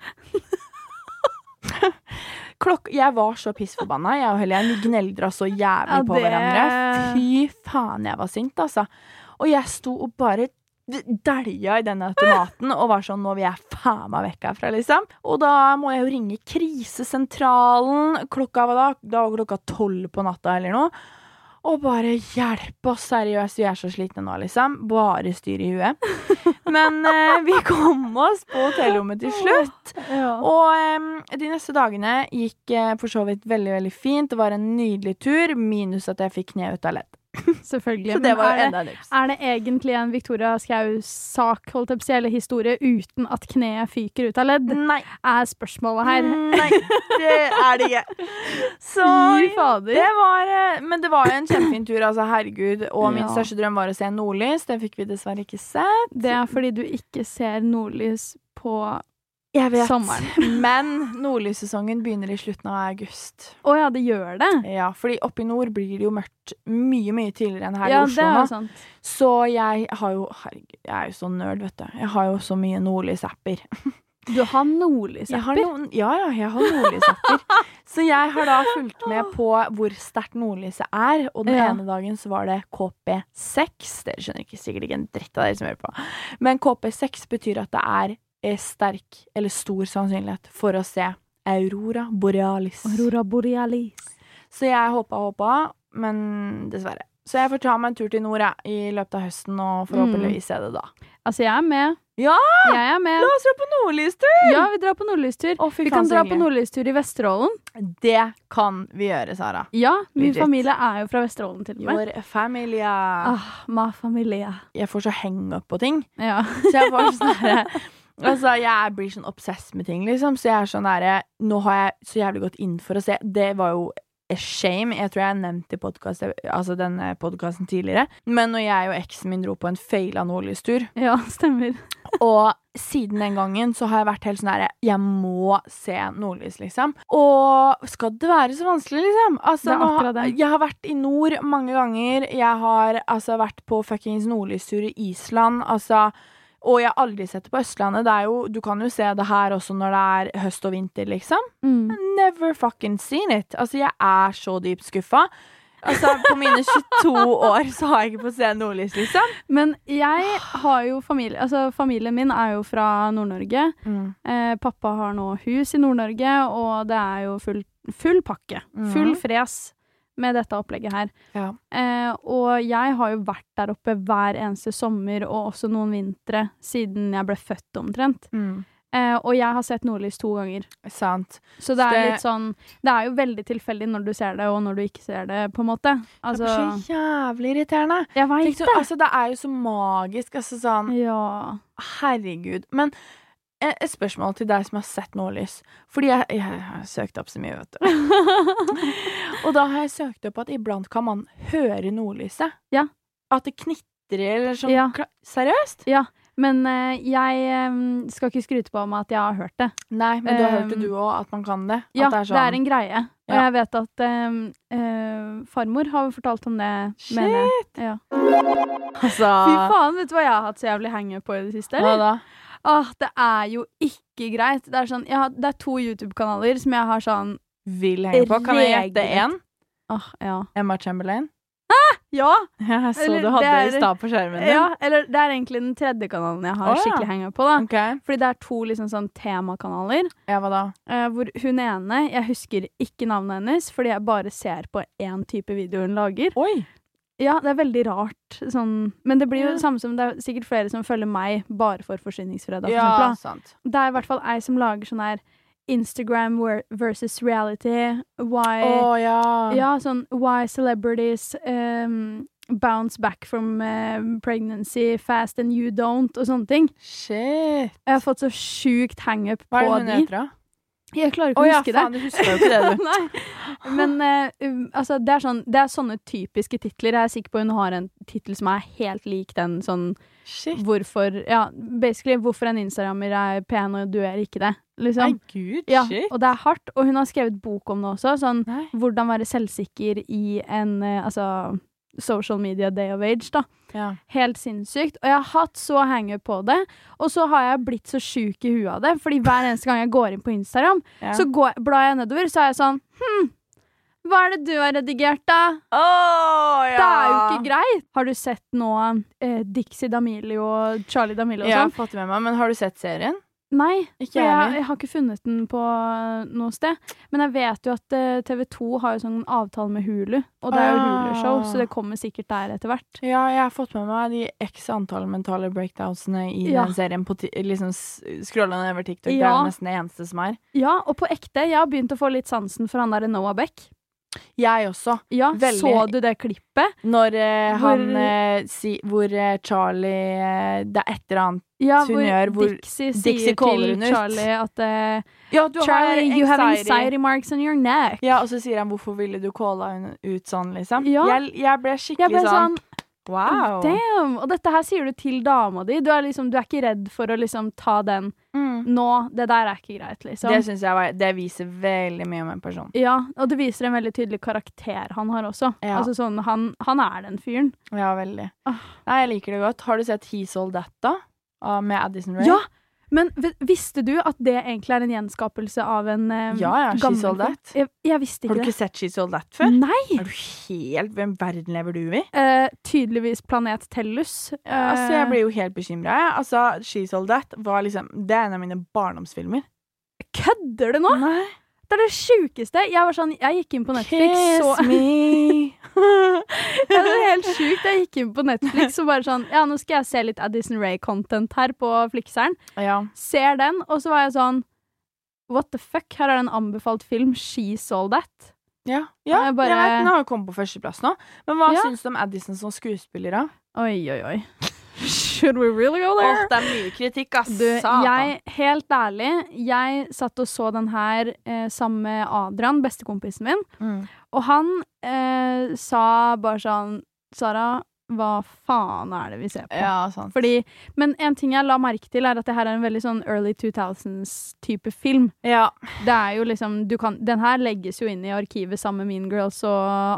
Speaker 2: Klokk, jeg var så pissforbanna. Jeg og Helen vi gneldra så jævlig
Speaker 1: Ja,
Speaker 2: på
Speaker 1: det-
Speaker 2: hverandre. Fy faen, jeg var sint, altså. Og jeg sto og bare d- dælja i den automaten og var sånn Nå vil jeg faen meg vekk herfra, liksom. Og da må jeg jo ringe krisesentralen. Klokka var da, da var klokka tolv på natta eller noe. Og bare hjelp oss, seriøst, vi er så slitne nå, liksom. Bare styr i huet. Men eh, vi kom oss på hotellrommet til slutt.
Speaker 1: Ja.
Speaker 2: Og em, de neste dagene gikk eh, for så vidt veldig, veldig fint. Det var en nydelig tur, minus at jeg fikk kneet ut av ledd.
Speaker 1: Selvfølgelig.
Speaker 2: Så det
Speaker 1: Men
Speaker 2: var jo
Speaker 1: er, det,
Speaker 2: enda nips.
Speaker 1: er det egentlig en Victoria Schou-sak, holdt jeg på å si, eller historie, uten at kneet fyker ut av ledd?
Speaker 2: Nei.
Speaker 1: Er spørsmålet her.
Speaker 2: Nei, det er det ikke. Så
Speaker 1: Fy fader.
Speaker 2: det var eh, Men det var jo en kjempefin tur, altså. Herregud. Og min
Speaker 1: Ja.
Speaker 2: største drøm var å se nordlys. Det fikk vi dessverre ikke se.
Speaker 1: Det er fordi du ikke ser nordlys på Å
Speaker 2: Jeg
Speaker 1: vet.
Speaker 2: Men nordlyssesongen begynner i slutten av august.
Speaker 1: ja, det gjør det?
Speaker 2: Ja, fordi oppe i nord blir det jo mørkt mye, mye tidligere enn her
Speaker 1: Ja,
Speaker 2: i
Speaker 1: det
Speaker 2: Oslo
Speaker 1: er
Speaker 2: nå.
Speaker 1: jo sant.
Speaker 2: Så jeg har jo Herregud, jeg er jo så nerd, vet du. Jeg har jo så mye nordlysapper.
Speaker 1: Du har nordlysapper.
Speaker 2: Jeg har noen- Ja, ja, jeg har nordlysapper. så jeg har da fulgt med på hvor sterkt nordlyset er, og den
Speaker 1: Ja.
Speaker 2: ene dagen så var det KP6. Dere skjønner ikke sikkert ikke en dritt av dere som hører på. Men KP6 betyr at det er eh, sterk, eller stor sannsynlighet for å se aurora borealis.
Speaker 1: Aurora borealis.
Speaker 2: Så jeg håpa og håpa, men dessverre. Så jeg får ta meg en tur til nord jeg, i løpet av høsten og forhåpentligvis se det da.
Speaker 1: Altså, jeg er med.
Speaker 2: Ja!
Speaker 1: Jeg er med.
Speaker 2: La oss dra på nordlystur!
Speaker 1: Ja, vi drar på nordlystur.
Speaker 2: Å, fy
Speaker 1: Vi kan
Speaker 2: faen, så
Speaker 1: dra på
Speaker 2: hyggelig.
Speaker 1: nordlystur i Vesterålen.
Speaker 2: Det kan vi gjøre, Sara.
Speaker 1: Ja, min
Speaker 2: Legit.
Speaker 1: familie er jo fra Vesterålen, til og med.
Speaker 2: Your familie.
Speaker 1: Ah, ma familia.
Speaker 2: Jeg får så henge opp på ting.
Speaker 1: Ja.
Speaker 2: Så jeg får sånn derre Altså, jeg blir sånn obsess med ting, liksom. Så jeg er sånn derre Nå har jeg så jævlig gått inn for å se. Det var jo a shame. Jeg tror jeg har nevnt i podcast, altså denne podkasten tidligere. Men når jeg og eksen min dro på en feila nordlystur,
Speaker 1: ja, stemmer.
Speaker 2: Og siden den gangen så har jeg vært helt sånn her Jeg må se nordlys, liksom. Og skal det være så vanskelig, liksom? Altså,
Speaker 1: Det er
Speaker 2: nå,
Speaker 1: akkurat det.
Speaker 2: jeg har vært i nord mange ganger. Jeg har altså vært på fuckings nordlystur i Island. Altså og jeg har aldri sett det på Østlandet. Det er jo, du kan jo se det her også når det er høst og vinter, liksom.
Speaker 1: Mm.
Speaker 2: Never fucking seen it. Altså, jeg er så dypt skuffa. Altså, på mine 22 år så har jeg ikke fått se nordlys, liksom.
Speaker 1: Men jeg har jo familie Altså, familien min er jo fra Nord-Norge. Eh, pappa har nå hus i Nord-Norge, og det er jo full, full pakke.
Speaker 2: Mhm.
Speaker 1: Full fres med dette opplegget her.
Speaker 2: Ja.
Speaker 1: Eh, og jeg har jo vært der oppe hver eneste sommer, og også noen vintre, siden jeg ble født omtrent.
Speaker 2: Mm.
Speaker 1: Eh, og jeg har sett nordlys to ganger.
Speaker 2: Sant.
Speaker 1: Så det er
Speaker 2: Det-
Speaker 1: litt sånn Det er jo veldig tilfeldig når du ser det, og når du ikke ser det, på en måte.
Speaker 2: Det
Speaker 1: Altså
Speaker 2: er så jævlig irriterende.
Speaker 1: Jeg
Speaker 2: Tenk
Speaker 1: veit
Speaker 2: så,
Speaker 1: det.
Speaker 2: altså, det er jo så magisk. Altså, sånn,
Speaker 1: Ja.
Speaker 2: herregud. Men eh, et spørsmål til deg som har sett nordlys. Fordi jeg, jeg har søkt opp så mye, vet du. Og da har jeg søkt opp at iblant kan man høre nordlyset.
Speaker 1: Ja.
Speaker 2: At det knitrer eller sånn.
Speaker 1: Ja.
Speaker 2: kla- Seriøst?
Speaker 1: Men eh, jeg eh, skal ikke skryte på meg at jeg har hørt det.
Speaker 2: Nei, Eh, men du har hørt det
Speaker 1: Um,
Speaker 2: du òg, at man kan det?
Speaker 1: Ja,
Speaker 2: at
Speaker 1: det er,
Speaker 2: sånn,
Speaker 1: en greie. Og
Speaker 2: Ja.
Speaker 1: jeg vet at ehm, eh, farmor har fortalt om det.
Speaker 2: Shit!
Speaker 1: mener jeg. Ja.
Speaker 2: altså,
Speaker 1: Fy faen, vet du hva jeg har hatt så jævlig hangup på i det siste?
Speaker 2: Hva
Speaker 1: Eller?
Speaker 2: da?
Speaker 1: Åh, det er jo ikke greit. Det er, sånn, jeg har, det er to YouTube-kanaler som jeg har sånn
Speaker 2: Vil henge på? Kan jeg gjette
Speaker 1: Regelrett.
Speaker 2: én?
Speaker 1: Åh, ja.
Speaker 2: Emma Chamberlain?
Speaker 1: Ja,
Speaker 2: Ja, jeg så
Speaker 1: Eller
Speaker 2: du hadde det
Speaker 1: det er-
Speaker 2: i stad på skjermen din.
Speaker 1: ja! Eller det er egentlig den tredje kanalen jeg har
Speaker 2: Å, ja.
Speaker 1: skikkelig hangup på. da.
Speaker 2: Ok,
Speaker 1: Fordi det er to liksom sånn temakanaler.
Speaker 2: ja, hva da?
Speaker 1: eh, hvor hun ene Jeg husker ikke navnet hennes, fordi jeg bare ser på én type video hun lager.
Speaker 2: Oi!
Speaker 1: Ja, det er veldig rart. Sånn. Men det blir jo
Speaker 2: Ja.
Speaker 1: det samme som det er sikkert flere som følger meg bare for Forsyningsfredag. For
Speaker 2: Ja,
Speaker 1: eksempel,
Speaker 2: sant.
Speaker 1: da. det er i hvert fall ei som lager sånn her Instagram wer- versus reality.
Speaker 2: Å
Speaker 1: Why
Speaker 2: Eh, ja.
Speaker 1: Ja, sånn Why celebrities um, bounce back from um, pregnancy fast and you don't, og sånne ting.
Speaker 2: Shit.
Speaker 1: Jeg har fått så sjukt hangup
Speaker 2: Hva
Speaker 1: på
Speaker 2: er det hun
Speaker 1: de.
Speaker 2: heter, da?
Speaker 1: Jeg klarer
Speaker 2: Å
Speaker 1: ikke å
Speaker 2: ja,
Speaker 1: huske det.
Speaker 2: faen, du husker jo ikke det, du.
Speaker 1: Nei. Men eh, um, altså, det, er sånn, det er sånne typiske titler. Jeg er sikker på hun har en tittel som er helt lik den sånn
Speaker 2: Shit.
Speaker 1: hvorfor Ja, basically hvorfor en instagrammer er pen og du er ikke det,
Speaker 2: Nei,
Speaker 1: liksom.
Speaker 2: gud,
Speaker 1: Ja,
Speaker 2: shit.
Speaker 1: og det er hardt. Og hun har skrevet bok om det også. Sånn
Speaker 2: Nei.
Speaker 1: hvordan være selvsikker i en eh, altså social media day of age, da.
Speaker 2: Ja.
Speaker 1: Helt sinnssykt. Og jeg har hatt så hangup på det. Og så har jeg blitt så sjuk i huet av det, fordi hver eneste gang jeg går inn på Instagram,
Speaker 2: Ja.
Speaker 1: så går, blar jeg nedover, så er jeg sånn Hm, hva er det du har redigert, da?
Speaker 2: Å, ja.
Speaker 1: Det er jo ikke greit! Har du sett nå eh, Dixie D'Amelio og Charlie D'Amelio og
Speaker 2: Ja,
Speaker 1: sånn?
Speaker 2: fått det med meg, men har du sett serien?
Speaker 1: Nei,
Speaker 2: Ikke
Speaker 1: for
Speaker 2: jeg
Speaker 1: jeg,
Speaker 2: heller.
Speaker 1: jeg har ikke funnet den på eh, noe sted. Men jeg vet jo at eh, TV 2 har jo sånn avtale med Hulu, og det er jo
Speaker 2: Ah.
Speaker 1: Hulu-show, så det kommer sikkert der etter hvert.
Speaker 2: Ja, jeg har fått med meg de x antall mentale breakdownsene i
Speaker 1: Ja.
Speaker 2: den serien. På ti- liksom Skrolla nedover TikTok. Det er
Speaker 1: Ja.
Speaker 2: jo nesten det eneste som er.
Speaker 1: Ja, og på ekte, jeg har begynt å få litt sansen for han derre Noah Beck.
Speaker 2: Jeg også.
Speaker 1: Ja,
Speaker 2: Veldig.
Speaker 1: Så du det klippet?
Speaker 2: Når eh,
Speaker 1: Hvor-
Speaker 2: han eh, si, Hvor eh, Charlie eh, Det er et eller annet
Speaker 1: Ja,
Speaker 2: Hun gjør hvor
Speaker 1: Dixie sier
Speaker 2: Dixie caller
Speaker 1: til
Speaker 2: hun ut.
Speaker 1: Charlie at eh,
Speaker 2: Ja, du
Speaker 1: Charlie, you have anxiety marks on your neck.
Speaker 2: Ja, og så sier han 'hvorfor ville du calla henne ut sånn', liksom.
Speaker 1: Ja.
Speaker 2: Jeg, jeg ble skikkelig
Speaker 1: Jeg ble sånn
Speaker 2: sånn,
Speaker 1: "Oh,
Speaker 2: wow.
Speaker 1: Damn! Og dette her sier du til dama di. Du er, liksom, du er ikke redd for å liksom ta den
Speaker 2: Mm.
Speaker 1: nå. Det der er ikke greit, liksom.
Speaker 2: Det synes jeg var, det viser veldig mye om en person.
Speaker 1: Ja, og det viser en veldig tydelig karakter han har også.
Speaker 2: Ja.
Speaker 1: Altså sånn, han, han er den fyren.
Speaker 2: Ja, veldig.
Speaker 1: Ah.
Speaker 2: Nei, jeg liker det godt. Har du sett He Sold That, da? Av- Med Addison Rae?
Speaker 1: Ja! Men v- visste du at det egentlig er en gjenskapelse av en eh,
Speaker 2: Ja, ja, She
Speaker 1: gammel
Speaker 2: Sold
Speaker 1: film?
Speaker 2: That.
Speaker 1: Jeg, jeg visste
Speaker 2: Har du
Speaker 1: ikke det.
Speaker 2: ikke sett She Sold That før?
Speaker 1: Nei!
Speaker 2: Er du helt Hvem verden lever du i?
Speaker 1: Eh, tydeligvis planet Tellus. Eh,
Speaker 2: Altså, jeg ble jo helt bekymra, jeg. Altså, She Sold That var liksom Det er en av mine barndomsfilmer.
Speaker 1: Kødder du nå?!
Speaker 2: Nei.
Speaker 1: Det er det sjukeste! Jeg var sånn, jeg gikk inn på Netflix så
Speaker 2: Kiss me.
Speaker 1: Ja, det er helt sjukt. Jeg gikk inn på Netflix og bare sånn Ja, nå skal jeg se litt Addison Rae-content her på Flikseren.
Speaker 2: ja.
Speaker 1: Ser den, og så var jeg sånn What the fuck? Her er det en anbefalt film. She Sold That.
Speaker 2: Ja, ja
Speaker 1: Jeg
Speaker 2: jeg,
Speaker 1: bare-
Speaker 2: vet den har jo kommet på førsteplass nå. Men hva
Speaker 1: Ja.
Speaker 2: syns du om Addison som skuespiller, da?
Speaker 1: Oi, oi, oi. Should we really go
Speaker 2: Åh,
Speaker 1: there?
Speaker 2: det er mye kritikk, ass.
Speaker 1: Du, jeg, helt ærlig, jeg satt og så den her eh, sammen med Adrian, bestekompisen min,
Speaker 2: mm.
Speaker 1: og han eh, sa bare sånn Sara, hva faen er det vi ser på?
Speaker 2: Ja, sant.
Speaker 1: Fordi, men en ting jeg la merke til, er at det her er en veldig sånn early 2000s-type film.
Speaker 2: Ja.
Speaker 1: Det er jo liksom du kan, Den her legges jo inn i arkivet sammen med Mean Girls og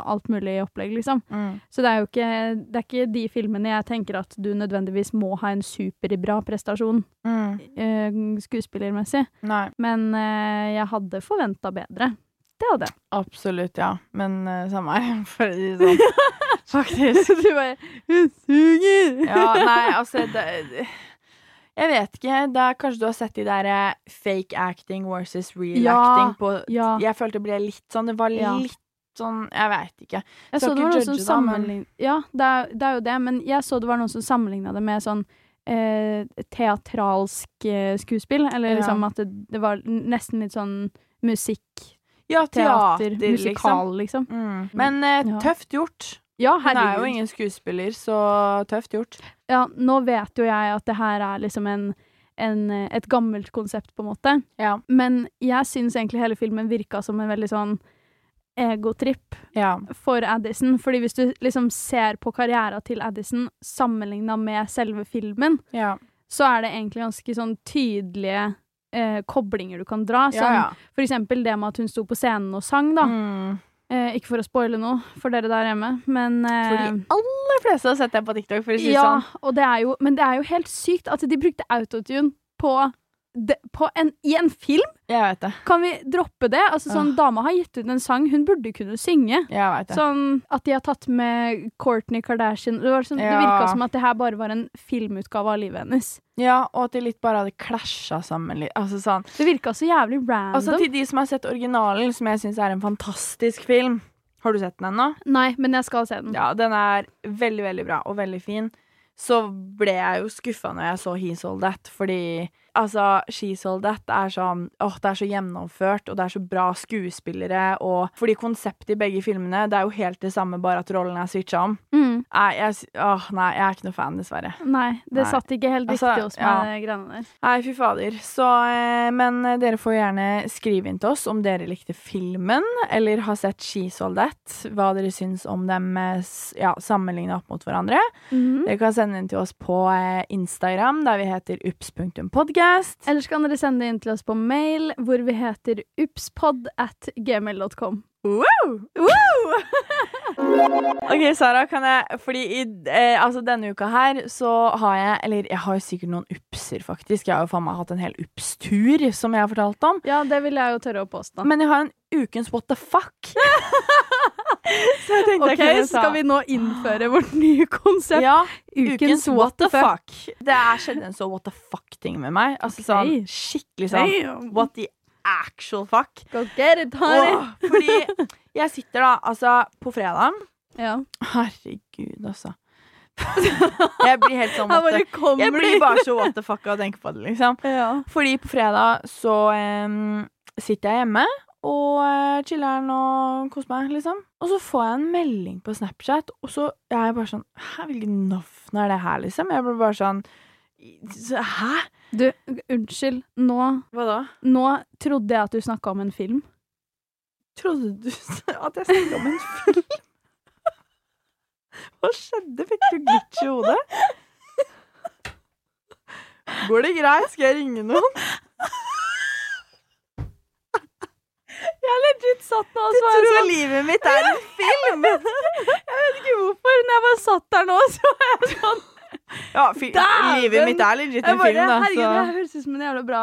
Speaker 1: alt mulig opplegg, liksom.
Speaker 2: Mm.
Speaker 1: Så det er jo ikke, det er ikke de filmene jeg tenker at du nødvendigvis må ha en superbra prestasjon
Speaker 2: Mm.
Speaker 1: eh, skuespillermessig.
Speaker 2: Nei.
Speaker 1: Men eh, jeg hadde forventa bedre. Det hadde jeg.
Speaker 2: Absolutt, ja. Men eh, samme her, for å si det sånn. Faktisk.
Speaker 1: du bare Hun suger!
Speaker 2: Ja, nei, altså det, det- Jeg vet ikke. Det er, kanskje du har sett de der eh, fake acting versus real
Speaker 1: Ja.
Speaker 2: acting på
Speaker 1: ja.
Speaker 2: Jeg følte det ble litt sånn Det var
Speaker 1: Ja.
Speaker 2: litt sånn Jeg veit ikke.
Speaker 1: Jeg så
Speaker 2: Skal
Speaker 1: det
Speaker 2: ikke
Speaker 1: var noen
Speaker 2: judge
Speaker 1: som
Speaker 2: da, men-
Speaker 1: sammenlign... Ja, det er, det er jo det, men jeg så det var noen som sammenligna det med sånn eh, teatralsk eh, skuespill. Eller
Speaker 2: Ja.
Speaker 1: liksom at det, det var n- nesten litt sånn musikk,
Speaker 2: Ja, teater,
Speaker 1: teater,
Speaker 2: liksom.
Speaker 1: musikal, liksom.
Speaker 2: Mm. Men eh,
Speaker 1: Ja.
Speaker 2: tøft gjort.
Speaker 1: Ja,
Speaker 2: Hun er jo
Speaker 1: herregud.
Speaker 2: ingen skuespiller, så tøft gjort.
Speaker 1: Ja, nå vet jo jeg at det her er liksom en, en, eh, et gammelt konsept, på en måte.
Speaker 2: Ja.
Speaker 1: Men jeg syns egentlig hele filmen virka som en veldig sånn egotripp.
Speaker 2: ja.
Speaker 1: for Addison. Fordi hvis du liksom ser på karriera til Addison sammenligna med selve filmen, så er det egentlig ganske sånn tydelige eh, koblinger du kan dra. Som
Speaker 2: ja,
Speaker 1: for eksempel det med at hun sto på scenen og sang, da.
Speaker 2: Mm.
Speaker 1: Eh, ikke for å spoile noe for dere der hjemme, men eh,
Speaker 2: For de aller fleste har sett deg på TikTok, for å si det
Speaker 1: ja,
Speaker 2: sånn.
Speaker 1: og det er jo, Men det er jo helt sykt at de brukte autotune på, de, på en, i en film!
Speaker 2: Jeg vet det.
Speaker 1: Kan vi droppe det? Altså sånn,
Speaker 2: Ah.
Speaker 1: Dama har gitt ut en sang, hun burde kunne synge.
Speaker 2: Jeg vet det.
Speaker 1: Sånn at de har tatt med Kourtney Kardashian Det, var sånn, det
Speaker 2: Ja.
Speaker 1: virka som at det her bare var en filmutgave av livet hennes.
Speaker 2: Ja, og at de litt bare hadde klasja sammen litt. Altså sånn.
Speaker 1: Det virka så jævlig random.
Speaker 2: Altså til de som har sett originalen, som jeg syns er en fantastisk film. Har du sett den ennå?
Speaker 1: Nei, men jeg skal se den.
Speaker 2: Ja, den er veldig, veldig bra og veldig fin. Så ble jeg jo skuffa når jeg så He Sold That, fordi altså, She Sold That er sånn Åh, det er så gjennomført, og det er så bra skuespillere, og Fordi konseptet i begge filmene, det er jo helt det samme, bare at rollen er switcha om.
Speaker 1: Mm.
Speaker 2: Nei, jeg, sy- åh, nei, jeg er ikke noe fan, dessverre.
Speaker 1: Nei, det
Speaker 2: Nei.
Speaker 1: satt ikke helt riktig
Speaker 2: Altså,
Speaker 1: hos
Speaker 2: ja.
Speaker 1: meg, de greiene der.
Speaker 2: Nei, fy fader. Så, eh, men eh, dere får gjerne skrive inn til oss om dere likte filmen, eller har sett She Sold That, hva dere syns om dem eh, s- ja, sammenligna opp mot hverandre.
Speaker 1: Mhm.
Speaker 2: Dere kan sende inn til oss på eh, Instagram, der vi heter ups.podcast.
Speaker 1: Ellers kan dere sende det inn til oss på mail, hvor vi heter upspod at gmail.com.
Speaker 2: Ok, Sara, kan jeg Fordi i, eh, altså denne uka her så har jeg Eller jeg har jo sikkert noen upser, faktisk. Jeg har jo faen meg hatt en hel ups-tur, som jeg har fortalt om.
Speaker 1: Ja, det vil jeg jo tørre å påstå.
Speaker 2: Men jeg har en ukens what the fuck. Så jeg tenkte
Speaker 1: Ok, så skal vi nå innføre vårt nye konsept.
Speaker 2: Ja,
Speaker 1: ukens, what the fuck.
Speaker 2: Det er skjedd en så what the fuck-ting med meg. Altså
Speaker 1: Ok.
Speaker 2: sånn skikkelig sånn
Speaker 1: Damn.
Speaker 2: what the actual fuck.
Speaker 1: Go get it, honey.
Speaker 2: Åh, fordi jeg sitter da, altså på fredag
Speaker 1: Ja.
Speaker 2: Herregud, altså. Jeg blir helt sånn
Speaker 1: Her
Speaker 2: what the
Speaker 1: bare kommer
Speaker 2: Jeg blir bare så what the fuck av å tenke på det, liksom.
Speaker 1: ja.
Speaker 2: Fordi på fredag så em, sitter jeg hjemme og uh, chiller'n og koser meg, liksom. Og så får jeg en melding på Snapchat, og så er jeg bare sånn Hæ, hvilket navn er det her, liksom? Jeg blir bare sånn så, Hæ?
Speaker 1: Du, unnskyld. Nå,
Speaker 2: Hva da?
Speaker 1: nå trodde jeg at du snakka om en film.
Speaker 2: Trodde du at jeg snakket om en film? Hva skjedde? Fikk du glitch i hodet? Går det greit? Skal jeg ringe noen?
Speaker 1: Jeg er legit satt nå og
Speaker 2: Du tror livet mitt er en film?
Speaker 1: vet ikke hvorfor, men jeg bare satt der nå, så var jeg sånn
Speaker 2: Ja, fi
Speaker 1: Dæven!
Speaker 2: livet mitt er legit en film, da.
Speaker 1: Herregud, det her
Speaker 2: Så.
Speaker 1: høres ut som en jævla bra,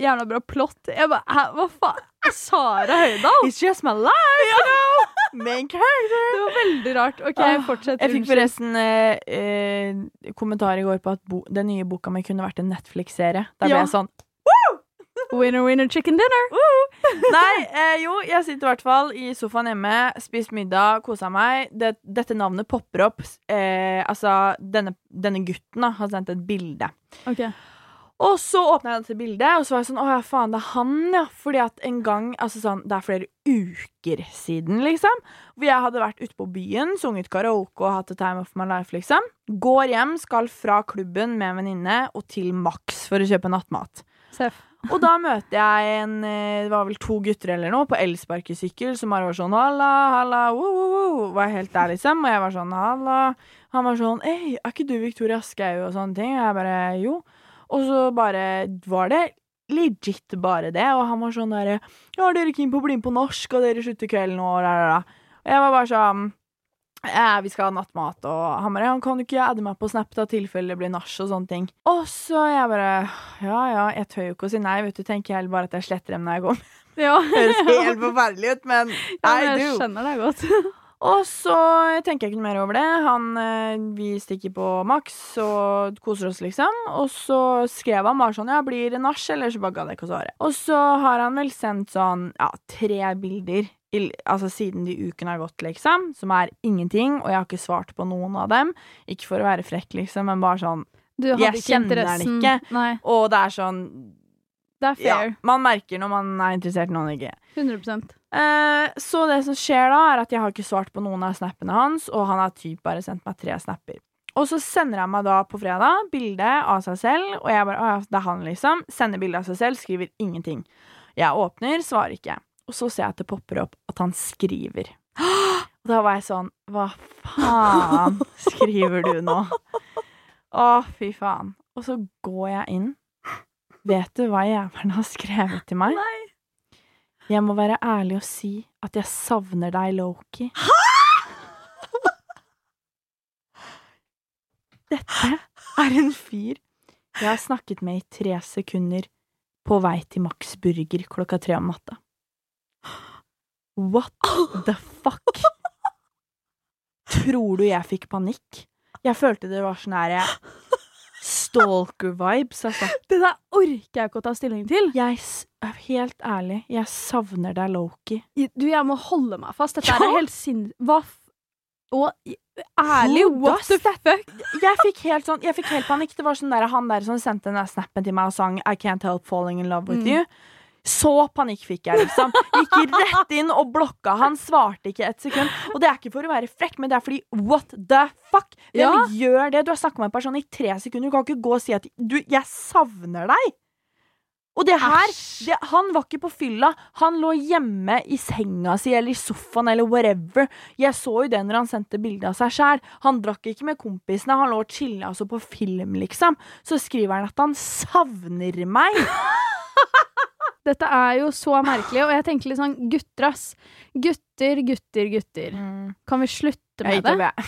Speaker 1: jævla bra plott. Jeg bare Hæ, hva faen? Sara Høydahl?
Speaker 2: It's just my life, you know! Main character!
Speaker 1: Det var veldig rart. OK,
Speaker 2: Åh,
Speaker 1: fortsett.
Speaker 2: Jeg fikk
Speaker 1: unnskyld.
Speaker 2: forresten eh, eh, kommentar i går på at bo den nye boka mi kunne vært en Netflix-serie. Da ble
Speaker 1: Ja.
Speaker 2: jeg sånn
Speaker 1: Winner, winner, chicken dinner.
Speaker 2: Nei, eh, jo, jeg sitter i hvert fall i sofaen hjemme, spist middag, kosa meg. Det, dette navnet popper opp. Eh, altså, denne, denne gutten da, har sendt et bilde.
Speaker 1: Ok.
Speaker 2: Og så åpna jeg dette bildet, og så var jeg sånn Å ja, faen, det er han, ja. Fordi at en gang Altså sånn, det er flere uker siden, liksom. Hvor jeg hadde vært ute på byen, sunget karaoke og hatt a time of my life, liksom. Går hjem, skal fra klubben med en venninne og til Max for å kjøpe nattmat.
Speaker 1: Seff.
Speaker 2: Og da møter jeg en, eh, det var vel to gutter eller noe, på elsparkesykkel, som bare var sånn halla, halla, wo, wo, wo, var helt der liksom, og jeg var sånn halla. Han var sånn, ei, er ikke du Victoria Skau og sånne ting? Og jeg bare, jo. Og så bare var det legit bare det, og han var sånn derre, ja, er dere keen på å bli med på norsk, og dere slutter kvelden, og la, la, la. Og jeg var bare sånn, eh, vi skal ha nattmat, og han bare, ja, kan du ikke adde meg på Snap da tilfelle det blir nasj og sånne ting? Og så jeg bare, ja, ja, jeg tør jo ikke å si nei, vet du. Tenker jeg heller bare at jeg sletter dem når jeg går.
Speaker 1: Ja.
Speaker 2: Det høres helt forferdelig ut, men
Speaker 1: Ja, men jeg
Speaker 2: I do.
Speaker 1: skjønner deg godt.
Speaker 2: Og så tenker jeg ikke noe mer over det. Han, eh, vi stikker på Max og koser oss, liksom. Og så skrev han bare sånn, ja, blir det nach, eller så bare gadd jeg ikke å svare. Og så har han vel sendt sånn, ja, tre bilder. I, altså siden de ukene har gått, liksom. Som er ingenting, og jeg har ikke svart på noen av dem. Ikke for å være frekk, liksom, men bare sånn.
Speaker 1: Du hadde
Speaker 2: Jeg
Speaker 1: ikke
Speaker 2: kjenner den
Speaker 1: interessen.
Speaker 2: ikke.
Speaker 1: Nei,
Speaker 2: Og det er sånn,
Speaker 1: det er
Speaker 2: ja,
Speaker 1: fair.
Speaker 2: man merker når man er interessert, når man ikke
Speaker 1: 100
Speaker 2: Eh, så det som skjer da, er at jeg har ikke svart på noen av snappene hans, og han har typ bare sendt meg tre snapper. Og så sender han meg da på fredag bilde av seg selv, og jeg bare Å ja, det er han, liksom. Sender bilde av seg selv, skriver ingenting. Jeg åpner, svarer ikke. Og så ser jeg at det popper opp at han skriver. Og da var jeg sånn Hva faen skriver du nå? Å, fy faen. Og så går jeg inn. Vet du hva jævelen har skrevet til meg?
Speaker 1: Nei.
Speaker 2: Jeg må være ærlig og si at jeg savner deg, Loki. Hæ?! Dette er en fyr jeg har snakket med i tre sekunder på vei til Max Burger klokka tre om natta. What the fuck? Tror du jeg fikk panikk? Jeg følte det var sånn her stalker-vibes, altså.
Speaker 1: Det der orker jeg ikke å ta stilling til.
Speaker 2: Jeg, s- helt ærlig, jeg savner deg, Loki.
Speaker 1: Du, jeg må holde meg fast. Dette
Speaker 2: Ja.
Speaker 1: er helt sinn... Hva f... Og ærlig,
Speaker 2: Who
Speaker 1: what
Speaker 2: does
Speaker 1: the fuck?
Speaker 2: Jeg fikk helt sånn, jeg fikk helt panikk. Det var sånn der, han der som sendte den der snappen til meg og sang I can't help falling in love with
Speaker 1: Mm.
Speaker 2: you. Så panikk fikk jeg, liksom. Gikk rett inn og blokka. Han svarte ikke et sekund. Og det er ikke for å være frekk, men det er fordi what the fuck? Hvem
Speaker 1: Ja.
Speaker 2: gjør det? Du har snakka med en person i tre sekunder. Du kan ikke gå og si at du, jeg savner deg. Og det her
Speaker 1: Æsj.
Speaker 2: det, Han var ikke på fylla. Han lå hjemme i senga si eller i sofaen eller whatever. Jeg så jo det når han sendte bilde av seg sjæl. Han drakk ikke med kompisene. Han lå og chilla altså på film, liksom. Så skriver han at han savner meg.
Speaker 1: Dette er jo så merkelig, og jeg tenker litt sånn
Speaker 2: Mm.
Speaker 1: gutter, ass. Gutter, gutter, gutter. Kan vi slutte med det?
Speaker 2: Jeg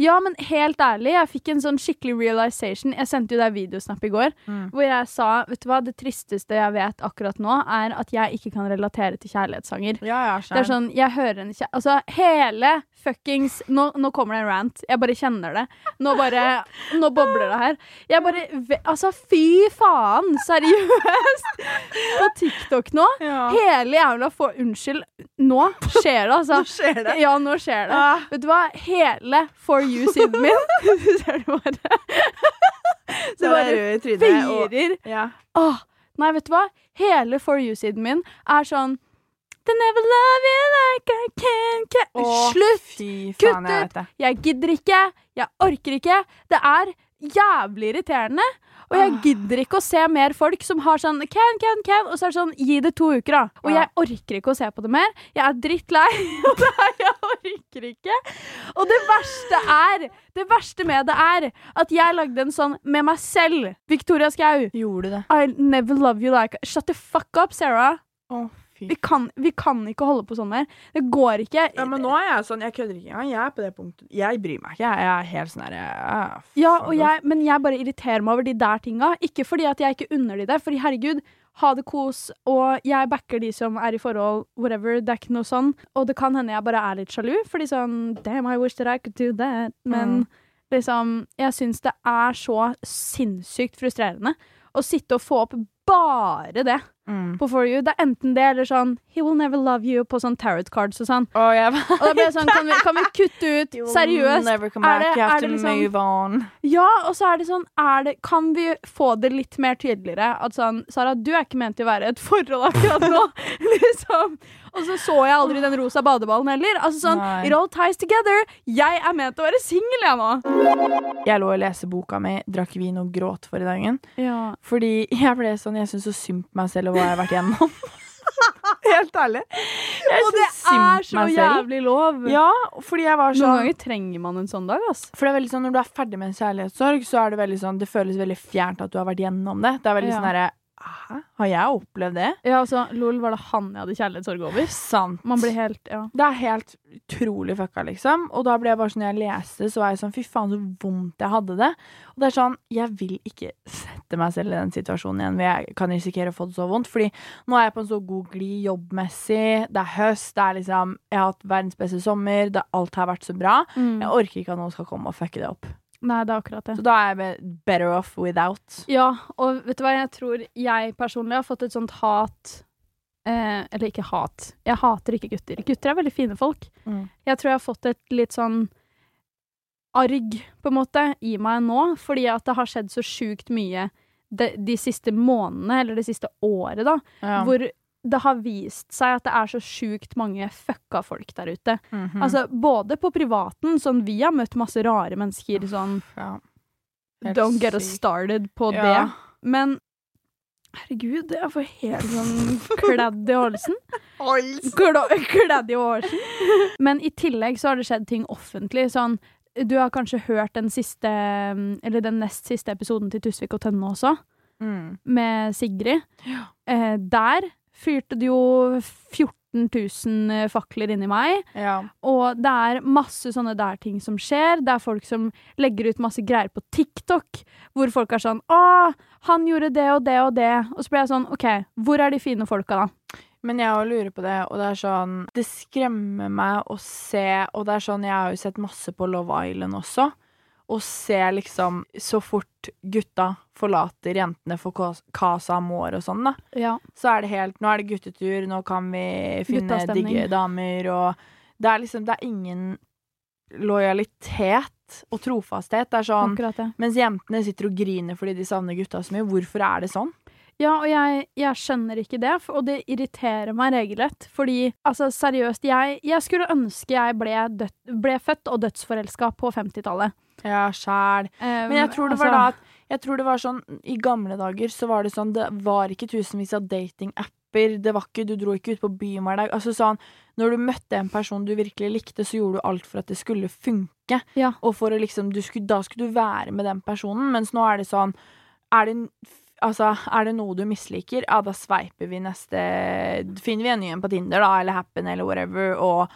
Speaker 1: Ja, men helt ærlig, jeg fikk en sånn skikkelig realization. Jeg sendte jo deg videosnap i går,
Speaker 2: Mm.
Speaker 1: hvor jeg sa vet du hva, det tristeste jeg vet akkurat nå, er at jeg ikke kan relatere til kjærlighetssanger.
Speaker 2: Ja, ja,
Speaker 1: Det er sånn, jeg hører en kjæ... Altså, hele fuckings nå, nå kommer det en rant. Jeg bare kjenner det. Nå bare Nå bobler det her. Jeg bare ve- Altså, fy faen! Seriøst! På TikTok nå.
Speaker 2: Ja.
Speaker 1: Hele jævla få Unnskyld. Nå skjer det, altså.
Speaker 2: Nå skjer det.
Speaker 1: Ja, nå skjer det.
Speaker 2: Ah.
Speaker 1: Vet du hva? Hele For you-siden min Du ser det bare.
Speaker 2: Det
Speaker 1: Det
Speaker 2: var
Speaker 1: bare
Speaker 2: rød i trynet. Og,
Speaker 1: feirer.
Speaker 2: ja.
Speaker 1: Åh, nei, vet du hva? Hele For you-siden min er sånn They never love you like I can, can.
Speaker 2: Åh,
Speaker 1: Slutt!
Speaker 2: Fy
Speaker 1: Kutt
Speaker 2: faen, jeg
Speaker 1: ut!
Speaker 2: vet det.
Speaker 1: Jeg gidder ikke. Jeg orker ikke. Det er jævlig irriterende. Og jeg
Speaker 2: Ah.
Speaker 1: gidder ikke å se mer folk som har sånn can, can, can, og så er det sånn gi det to uker, da. Og
Speaker 2: Ja.
Speaker 1: jeg orker ikke å se på det mer. Jeg er drittlei. Og det er jeg orker ikke. Og det verste er, det verste med det er, at jeg lagde en sånn med meg selv. Victoria Skau.
Speaker 2: Gjorde du det?
Speaker 1: I'll never love you like Shut the fuck up, Sarah.
Speaker 2: Å, fy.
Speaker 1: Vi kan, vi kan ikke holde på sånn her. Det går ikke.
Speaker 2: Ja, men nå er jeg sånn, jeg kødder ikke engang. Jeg er på det punktet. Jeg bryr meg ikke. Jeg er helt sånn her jeg-
Speaker 1: Ja,
Speaker 2: fuck
Speaker 1: og
Speaker 2: off.
Speaker 1: jeg, men jeg bare irriterer meg over de der tinga. Ikke fordi at jeg ikke unner de det, fordi herregud, ha det kos, og jeg backer de som er i forhold, whatever, det er ikke noe sånn. Og det kan hende jeg bare er litt sjalu, fordi sånn Damn, I wish that I could do that.
Speaker 2: Mm.
Speaker 1: Men liksom, jeg syns det er så sinnssykt frustrerende å sitte og få opp bare det
Speaker 2: Mm.
Speaker 1: på For You. Det er enten det eller sånn He will never love you på sånn tarot cards og sånn.
Speaker 2: Og jeg var
Speaker 1: Og da ble jeg sånn, kan vi, kan vi kutte ut? Seriøst?
Speaker 2: Never come back.
Speaker 1: Er det-
Speaker 2: you have
Speaker 1: er det
Speaker 2: to
Speaker 1: liksom-
Speaker 2: move on.
Speaker 1: Ja, og så er det sånn er det, Kan vi få det litt mer tydeligere? At sånn Sara, du er ikke ment til å være i et forhold akkurat nå. liksom. Og så så jeg aldri den rosa badeballen heller. Altså sånn
Speaker 2: Nei.
Speaker 1: It all ties together. Jeg er ment til å være singel, jeg nå.
Speaker 2: Jeg lå og leste boka mi, drakk vin og gråt for i dagen.
Speaker 1: Ja.
Speaker 2: Fordi jeg ble sånn, jeg syns så synd på meg selv og hva jeg har vært gjennom. helt ærlig. Jeg
Speaker 1: Og det
Speaker 2: syns synd
Speaker 1: er
Speaker 2: på
Speaker 1: så
Speaker 2: meg selv.
Speaker 1: jævlig lov.
Speaker 2: Ja, fordi jeg var
Speaker 1: Noen
Speaker 2: sånn
Speaker 1: ganger trenger man en sånn dag, ass.
Speaker 2: For det er veldig sånn, Når du er ferdig med en kjærlighetssorg, så er det veldig sånn, det føles veldig fjernt at du har vært gjennom det. Det er veldig
Speaker 1: Ja.
Speaker 2: sånn herre Hæ? Har jeg opplevd det?
Speaker 1: Ja, altså, lol, var det han jeg hadde kjærlighetssorg over?
Speaker 2: Sant.
Speaker 1: Man blir helt Ja.
Speaker 2: Det er helt utrolig fucka, liksom. Og da ble jeg bare sånn, når jeg leste, så var jeg sånn Fy faen, så vondt jeg hadde det. Og det er sånn, jeg vil ikke sette meg selv i den situasjonen igjen hvor jeg kan risikere å få det så vondt. Fordi nå er jeg på en så god glid jobbmessig. Det er høst, det er liksom Jeg har hatt verdens beste sommer. Det, alt har vært så bra.
Speaker 1: Mm.
Speaker 2: Jeg orker ikke at noen skal komme og fucke det opp.
Speaker 1: Nei, det er akkurat det.
Speaker 2: Så da er jeg be- better off without.
Speaker 1: Ja, og vet du hva, jeg tror jeg personlig har fått et sånt hat eh, Eller ikke hat. Jeg hater ikke gutter. Gutter er veldig fine folk.
Speaker 2: Mm.
Speaker 1: Jeg tror jeg har fått et litt sånn arg, på en måte, i meg nå, fordi at det har skjedd så sjukt mye de, de siste månedene, eller det siste året, da,
Speaker 2: Ja.
Speaker 1: hvor det har vist seg at det er så sjukt mange fucka folk der ute.
Speaker 2: Mhm.
Speaker 1: Altså, både på privaten, sånn vi har møtt masse rare mennesker, sånn
Speaker 2: ja. Helt
Speaker 1: Don't get us
Speaker 2: sykt.
Speaker 1: started på
Speaker 2: Ja.
Speaker 1: det. Men herregud, jeg får helt sånn kledd i halsen. Kla- Kledd i halsen. Men i tillegg så har det skjedd ting offentlig. Sånn, du har kanskje hørt den siste, eller den nest siste episoden til Tusvik og Tønne også,
Speaker 2: Mm.
Speaker 1: med Sigrid. Eh, der fyrte det jo 14 000 fakler inni meg.
Speaker 2: Ja.
Speaker 1: Og det er masse sånne der ting som skjer. Det er folk som legger ut masse greier på TikTok, hvor folk er sånn 'Å, han gjorde det og det og det.' Og så blir jeg sånn 'OK, hvor er de fine folka, da?'
Speaker 2: Men jeg òg lurer på det, og det er sånn Det skremmer meg å se Og det er sånn, jeg har jo sett masse på Love Island også. Å se liksom Så fort gutta forlater jentene for Cas- Casa Amor og sånn, da,
Speaker 1: Ja.
Speaker 2: så er det helt Nå er det guttetur, nå kan vi finne
Speaker 1: Guttastemning.
Speaker 2: digge damer og Det er liksom Det er ingen lojalitet og trofasthet. Det er sånn
Speaker 1: Akkurat det.
Speaker 2: Mens jentene sitter og griner fordi de savner gutta så mye. Hvorfor er det sånn?
Speaker 1: Ja, og jeg, jeg skjønner ikke det, f- og det irriterer meg regelrett. Fordi, altså, seriøst, jeg, jeg skulle ønske jeg ble, død, ble født og dødsforelska på 50-tallet.
Speaker 2: Ja, sjæl.
Speaker 1: Um,
Speaker 2: Men jeg tror det var
Speaker 1: altså-
Speaker 2: da at Jeg tror det var sånn I gamle dager så var det sånn Det var ikke tusenvis av datingapper. Det var ikke Du dro ikke ut på byen hver dag. Altså sånn Når du møtte en person du virkelig likte, så gjorde du alt for at det skulle funke.
Speaker 1: Ja.
Speaker 2: Og for å liksom du skulle, Da skulle du være med den personen. Mens nå er det sånn Er det Altså, er det noe du misliker, ja, da sveiper vi neste Finner vi en ny en på Tinder, da, eller Happen, eller whatever, og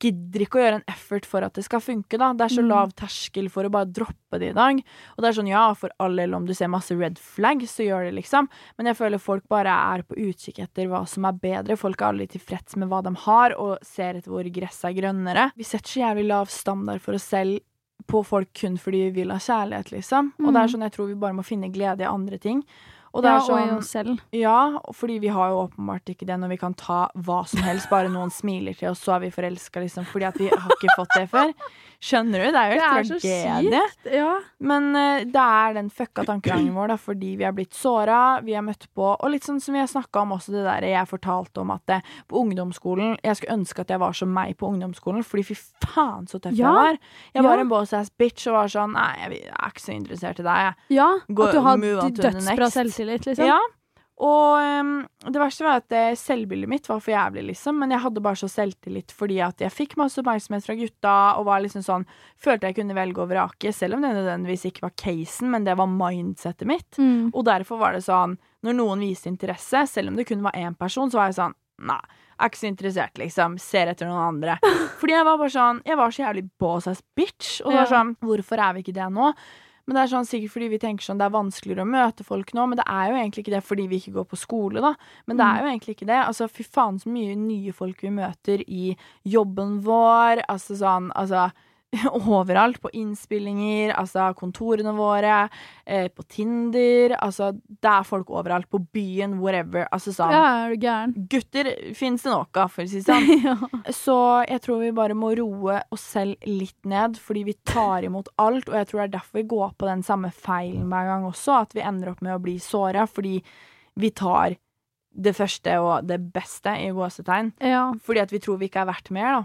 Speaker 2: gidder ikke å gjøre en effort for at det skal funke, da. Det er så
Speaker 1: Mm.
Speaker 2: lav terskel for å bare droppe det i dag. Og det er sånn, ja, for all del, om du ser masse red flags, så gjør det liksom. Men jeg føler folk bare er på utkikk etter hva som er bedre. Folk er aldri tilfreds med hva de har, og ser etter hvor gresset er grønnere. Vi setter så jævlig lav standard for oss selv på folk kun fordi vi vil ha kjærlighet, liksom. Og det
Speaker 1: Mm.
Speaker 2: er sånn, jeg tror vi bare må finne glede i andre ting. Og det
Speaker 1: Ja,
Speaker 2: er sånn,
Speaker 1: og i oss selv.
Speaker 2: ja, fordi vi har jo åpenbart ikke det når vi kan ta hva som helst, bare noen smiler til oss, så er vi forelska, liksom, fordi at vi har ikke fått det før. Skjønner du? Det er jo
Speaker 1: Det er
Speaker 2: helt
Speaker 1: så
Speaker 2: tragedie.
Speaker 1: Ja.
Speaker 2: Men eh, det er den fucka tankegangen vår, da, fordi vi er blitt såra, vi er møtt på Og litt sånn som vi har snakka om også det der jeg fortalte om at eh, på ungdomsskolen Jeg skulle ønske at jeg var som meg på ungdomsskolen, fordi fy faen så tøff
Speaker 1: Ja.
Speaker 2: jeg var. Jeg
Speaker 1: Ja.
Speaker 2: var en boss ass bitch og var sånn Nei, jeg er ikke så interessert i deg, jeg.
Speaker 1: ja
Speaker 2: Gå-
Speaker 1: at du har
Speaker 2: move on to the
Speaker 1: dødsbra
Speaker 2: next.
Speaker 1: selvtillit, liksom.
Speaker 2: Ja. Og ehm, det verste var at eh, selvbildet mitt var for jævlig, liksom. Men jeg hadde bare så selvtillit fordi at jeg fikk masse oppmerksomhet fra gutta, og var liksom sånn Følte jeg kunne velge og vrake, selv om det nødvendigvis ikke var casen, men det var mindsettet mitt.
Speaker 1: Mm.
Speaker 2: Og derfor var det sånn Når noen viste interesse, selv om det kun var én person, så var jeg sånn Nei, er ikke så interessert, liksom. Ser etter noen andre. Fordi jeg var bare sånn Jeg var så jævlig boss ass bitch. Og det var
Speaker 1: Ja.
Speaker 2: sånn Hvorfor er vi ikke det nå? Men det er sånn sikkert fordi vi tenker sånn det er vanskeligere å møte folk nå, men det er jo egentlig ikke det fordi vi ikke går på skole, da. Men
Speaker 1: Mm.
Speaker 2: det er jo egentlig ikke det. Altså, fy faen så mye nye folk vi møter i jobben vår, altså sånn, altså Overalt. På innspillinger, altså kontorene våre, eh, på Tinder Altså, det er folk overalt. På byen, wherever. Altså sånn
Speaker 1: ja, er du gæren?
Speaker 2: Gutter fins det nok av, for å si det sånn.
Speaker 1: ja.
Speaker 2: Så jeg tror vi bare må roe oss selv litt ned, fordi vi tar imot alt. Og jeg tror det er derfor vi går på den samme feilen hver gang også, at vi ender opp med å bli såra fordi vi tar det første og det beste i gåsetegn.
Speaker 1: ja.
Speaker 2: Fordi at vi tror vi ikke er verdt mer, da.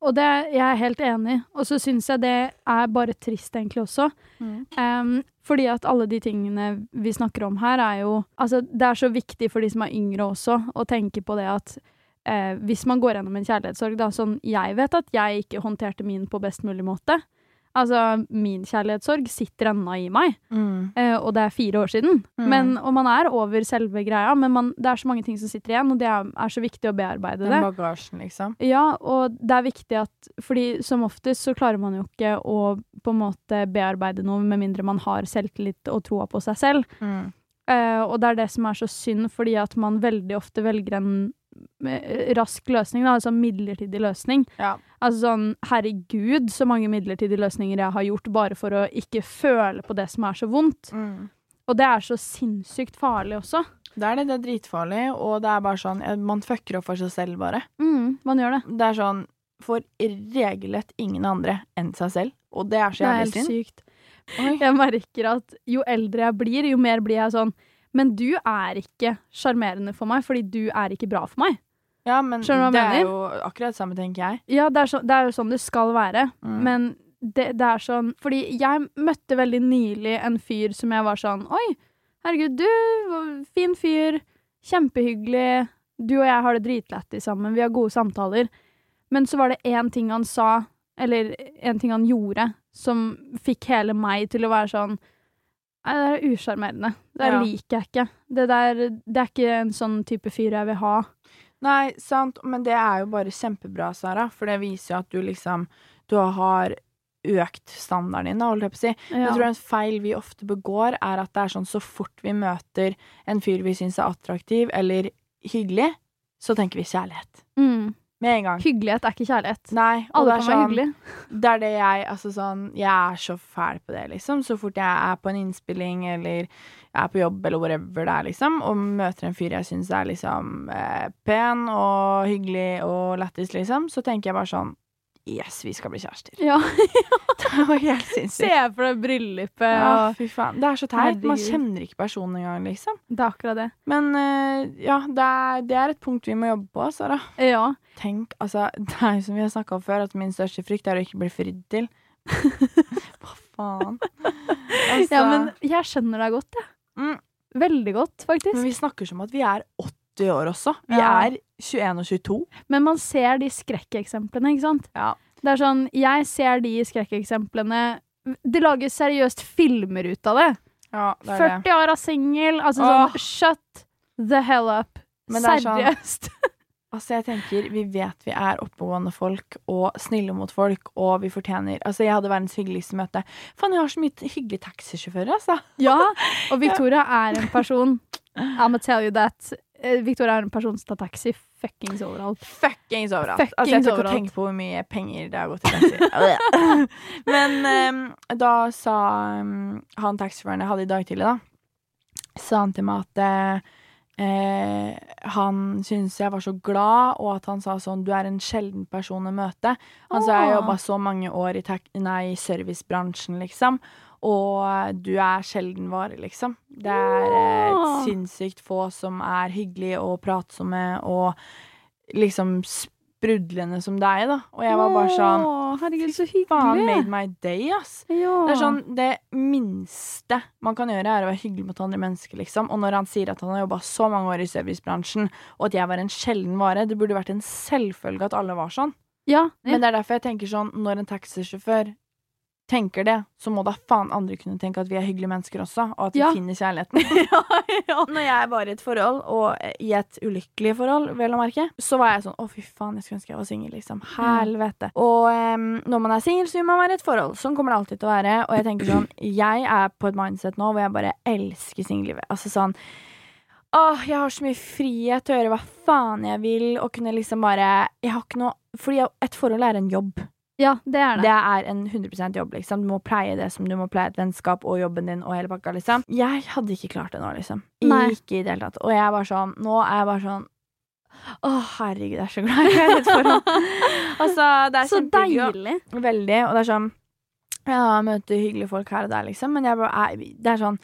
Speaker 1: Og det, jeg er helt enig. Og så syns jeg det er bare trist, egentlig også.
Speaker 2: Mm.
Speaker 1: Em, fordi at alle de tingene vi snakker om her, er jo Altså, det er så viktig for de som er yngre også, å tenke på det at eh, hvis man går gjennom en kjærlighetssorg, da Sånn, jeg vet at jeg ikke håndterte min på best mulig måte. Altså, min kjærlighetssorg sitter ennå i meg, eh, og det er fire år siden.
Speaker 2: Mm.
Speaker 1: Men, og man er over selve greia, men man, det er så mange ting som sitter igjen, og det er, er så viktig å bearbeide det.
Speaker 2: Den bagasjen, liksom.
Speaker 1: Ja, og det er viktig at Fordi som oftest så klarer man jo ikke å på en måte bearbeide noe med mindre man har selvtillit og troa på seg selv.
Speaker 2: Mm.
Speaker 1: Eh, og det er det som er så synd, fordi at man veldig ofte velger en eh, rask løsning, da, altså en midlertidig løsning.
Speaker 2: Ja.
Speaker 1: Altså sånn herregud, så mange midlertidige løsninger jeg har gjort bare for å ikke føle på det som er så vondt.
Speaker 2: Mm.
Speaker 1: Og det er så sinnssykt farlig også.
Speaker 2: Det er det. Det er dritfarlig, og det er bare sånn eh, Man fucker opp for seg selv, bare.
Speaker 1: Mm, man gjør det.
Speaker 2: Det er sånn For regelrett ingen andre enn seg selv, og det er så
Speaker 1: Det er
Speaker 2: jævlig
Speaker 1: helt
Speaker 2: synd.
Speaker 1: sykt.
Speaker 2: Oi.
Speaker 1: Jeg merker at jo eldre jeg blir, jo mer blir jeg sånn Men du er ikke sjarmerende for meg, fordi du er ikke bra for meg.
Speaker 2: Ja, men det
Speaker 1: Skjønner du hva jeg
Speaker 2: er jo akkurat samme, tenker jeg.
Speaker 1: Ja, det er, så, det er jo sånn det skal være,
Speaker 2: Mm.
Speaker 1: men det, det er sånn Fordi jeg møtte veldig nylig en fyr som jeg var sånn Oi, herregud, du var- Fin fyr. Kjempehyggelig. Du og jeg har det dritlættis sammen. Vi har gode samtaler. Men så var det én ting han sa, eller én ting han gjorde, som fikk hele meg til å være sånn Nei, det der er usjarmerende. Det der
Speaker 2: Ja.
Speaker 1: liker jeg ikke. Det der Det er ikke en sånn type fyr jeg vil ha.
Speaker 2: Nei, sant, men det er jo bare kjempebra, Sara, for det viser jo at du liksom Du har økt standarden din, da, holdt jeg på å si. Jeg tror en feil vi ofte begår, er at det er sånn så fort vi møter en fyr vi syns er attraktiv eller hyggelig, så tenker vi kjærlighet.
Speaker 1: Mm.
Speaker 2: Med en gang.
Speaker 1: Hyggelighet er ikke kjærlighet.
Speaker 2: Nei,
Speaker 1: Alle
Speaker 2: og det
Speaker 1: kan være
Speaker 2: er sånn,
Speaker 1: hyggelige.
Speaker 2: Det er det jeg Altså sånn Jeg er så fæl på det, liksom. Så fort jeg er på en innspilling eller jeg er på jobb eller whatever det er, liksom, og møter en fyr jeg syns er liksom eh, pen og hyggelig og lættis, liksom, så tenker jeg bare sånn Yes, vi skal bli kjærester.
Speaker 1: Ja.
Speaker 2: Det var helt sinnssykt.
Speaker 1: for deg bryllupet
Speaker 2: Ja, fy faen. Det er så teit. Man
Speaker 1: Herregud.
Speaker 2: kjenner ikke personen engang, liksom.
Speaker 1: Det er akkurat det.
Speaker 2: Men eh, ja, det er, det er et punkt vi må jobbe på, Sara.
Speaker 1: Ja.
Speaker 2: Tenk, altså, det er jo som vi har snakka om før, at min største frykt er å ikke bli fridd til. Hva faen? Altså,
Speaker 1: ja, men
Speaker 2: men,
Speaker 1: jeg skjønner deg godt, jeg.
Speaker 2: Mm.
Speaker 1: Veldig godt, faktisk.
Speaker 2: Altså, vi snakker som at vi er 80 år også. Vi
Speaker 1: Ja.
Speaker 2: er 21 og 22.
Speaker 1: Men man ser de skrekkeksemplene, ikke sant?
Speaker 2: Ja.
Speaker 1: Det er sånn, jeg ser de skrekkeksemplene Det lages seriøst filmer ut av det.
Speaker 2: Ja, det er det.
Speaker 1: 40 år av singel, altså
Speaker 2: Åh.
Speaker 1: sånn Shut the hell up.
Speaker 2: Men det er sånn-
Speaker 1: Seriøst.
Speaker 2: Altså, jeg tenker, Vi vet vi er oppegående folk og snille mot folk, og vi fortjener Altså, jeg hadde verdens hyggeligste møte. Faen, jeg har så mye t- hyggelige taxisjåfører, altså.
Speaker 1: Ja, og Victoria er en person I'm gonna tell you that. Eh, Victoria er en person som tar taxi fuckings overalt.
Speaker 2: Fuckings overalt.
Speaker 1: Fuckings
Speaker 2: altså, jeg tør ikke
Speaker 1: overalt.
Speaker 2: å tenke på hvor mye penger det har gått til taxi. Men ehm, da sa ehm, han taxisjåføren jeg hadde i dag tidlig, da, sa han til meg at eh, han syntes jeg var så glad, og at han sa sånn Du er en sjelden person å møte. Han sa jeg
Speaker 1: Åh.
Speaker 2: jobba så mange år i tak nei, servicebransjen, liksom. Og eh, du er sjelden vare, liksom. Det er eh,
Speaker 1: Åh.
Speaker 2: sinnssykt få som er hyggelige og pratsomme og liksom sprudlende som deg, da. Og jeg var bare sånn
Speaker 1: Åh, herregud, så
Speaker 2: Faen,
Speaker 1: hyggelig.
Speaker 2: made my day, ass.
Speaker 1: Ja.
Speaker 2: Det er sånn, det minste man kan gjøre, er å være hyggelig mot andre mennesker, liksom. Og når han sier at han har jobba så mange år i servicebransjen, og at jeg var en sjelden vare, det burde vært en selvfølge at alle var sånn.
Speaker 1: ja.
Speaker 2: Men det er derfor jeg tenker sånn, når en taxisjåfør tenker det, så må da faen andre kunne tenke at vi er hyggelige mennesker også, og at vi
Speaker 1: Ja.
Speaker 2: finner kjærligheten. Når jeg var i et forhold, og eh, i et ulykkelig forhold, vel å merke, så var jeg sånn å, fy faen, jeg skulle ønske jeg var singel, liksom. Helvete. Og em, når man er singel, så vil man være i et forhold. Sånn kommer det alltid til å være. Og jeg tenker sånn, jeg er på et mindset nå hvor jeg bare elsker singellivet. Altså sånn Åh, jeg har så mye frihet til å gjøre hva faen jeg vil, og kunne liksom bare Jeg har ikke noe Fordi et forhold er en jobb.
Speaker 1: ja, det er det.
Speaker 2: Det er en 100 jobb, liksom. Du må pleie det som du må pleie et vennskap og jobben din og hele pakka, liksom. Jeg hadde ikke klart det nå, liksom.
Speaker 1: Nei.
Speaker 2: Ikke i det hele tatt. Og jeg var sånn Nå er jeg bare sånn Å, herregud, jeg er så glad jeg er i et forhold. altså, det er
Speaker 1: så
Speaker 2: kjempegøy.
Speaker 1: deilig.
Speaker 2: Veldig. Og det er sånn Ja, møter hyggelige folk her og der, liksom. Men jeg bare, er, det er sånn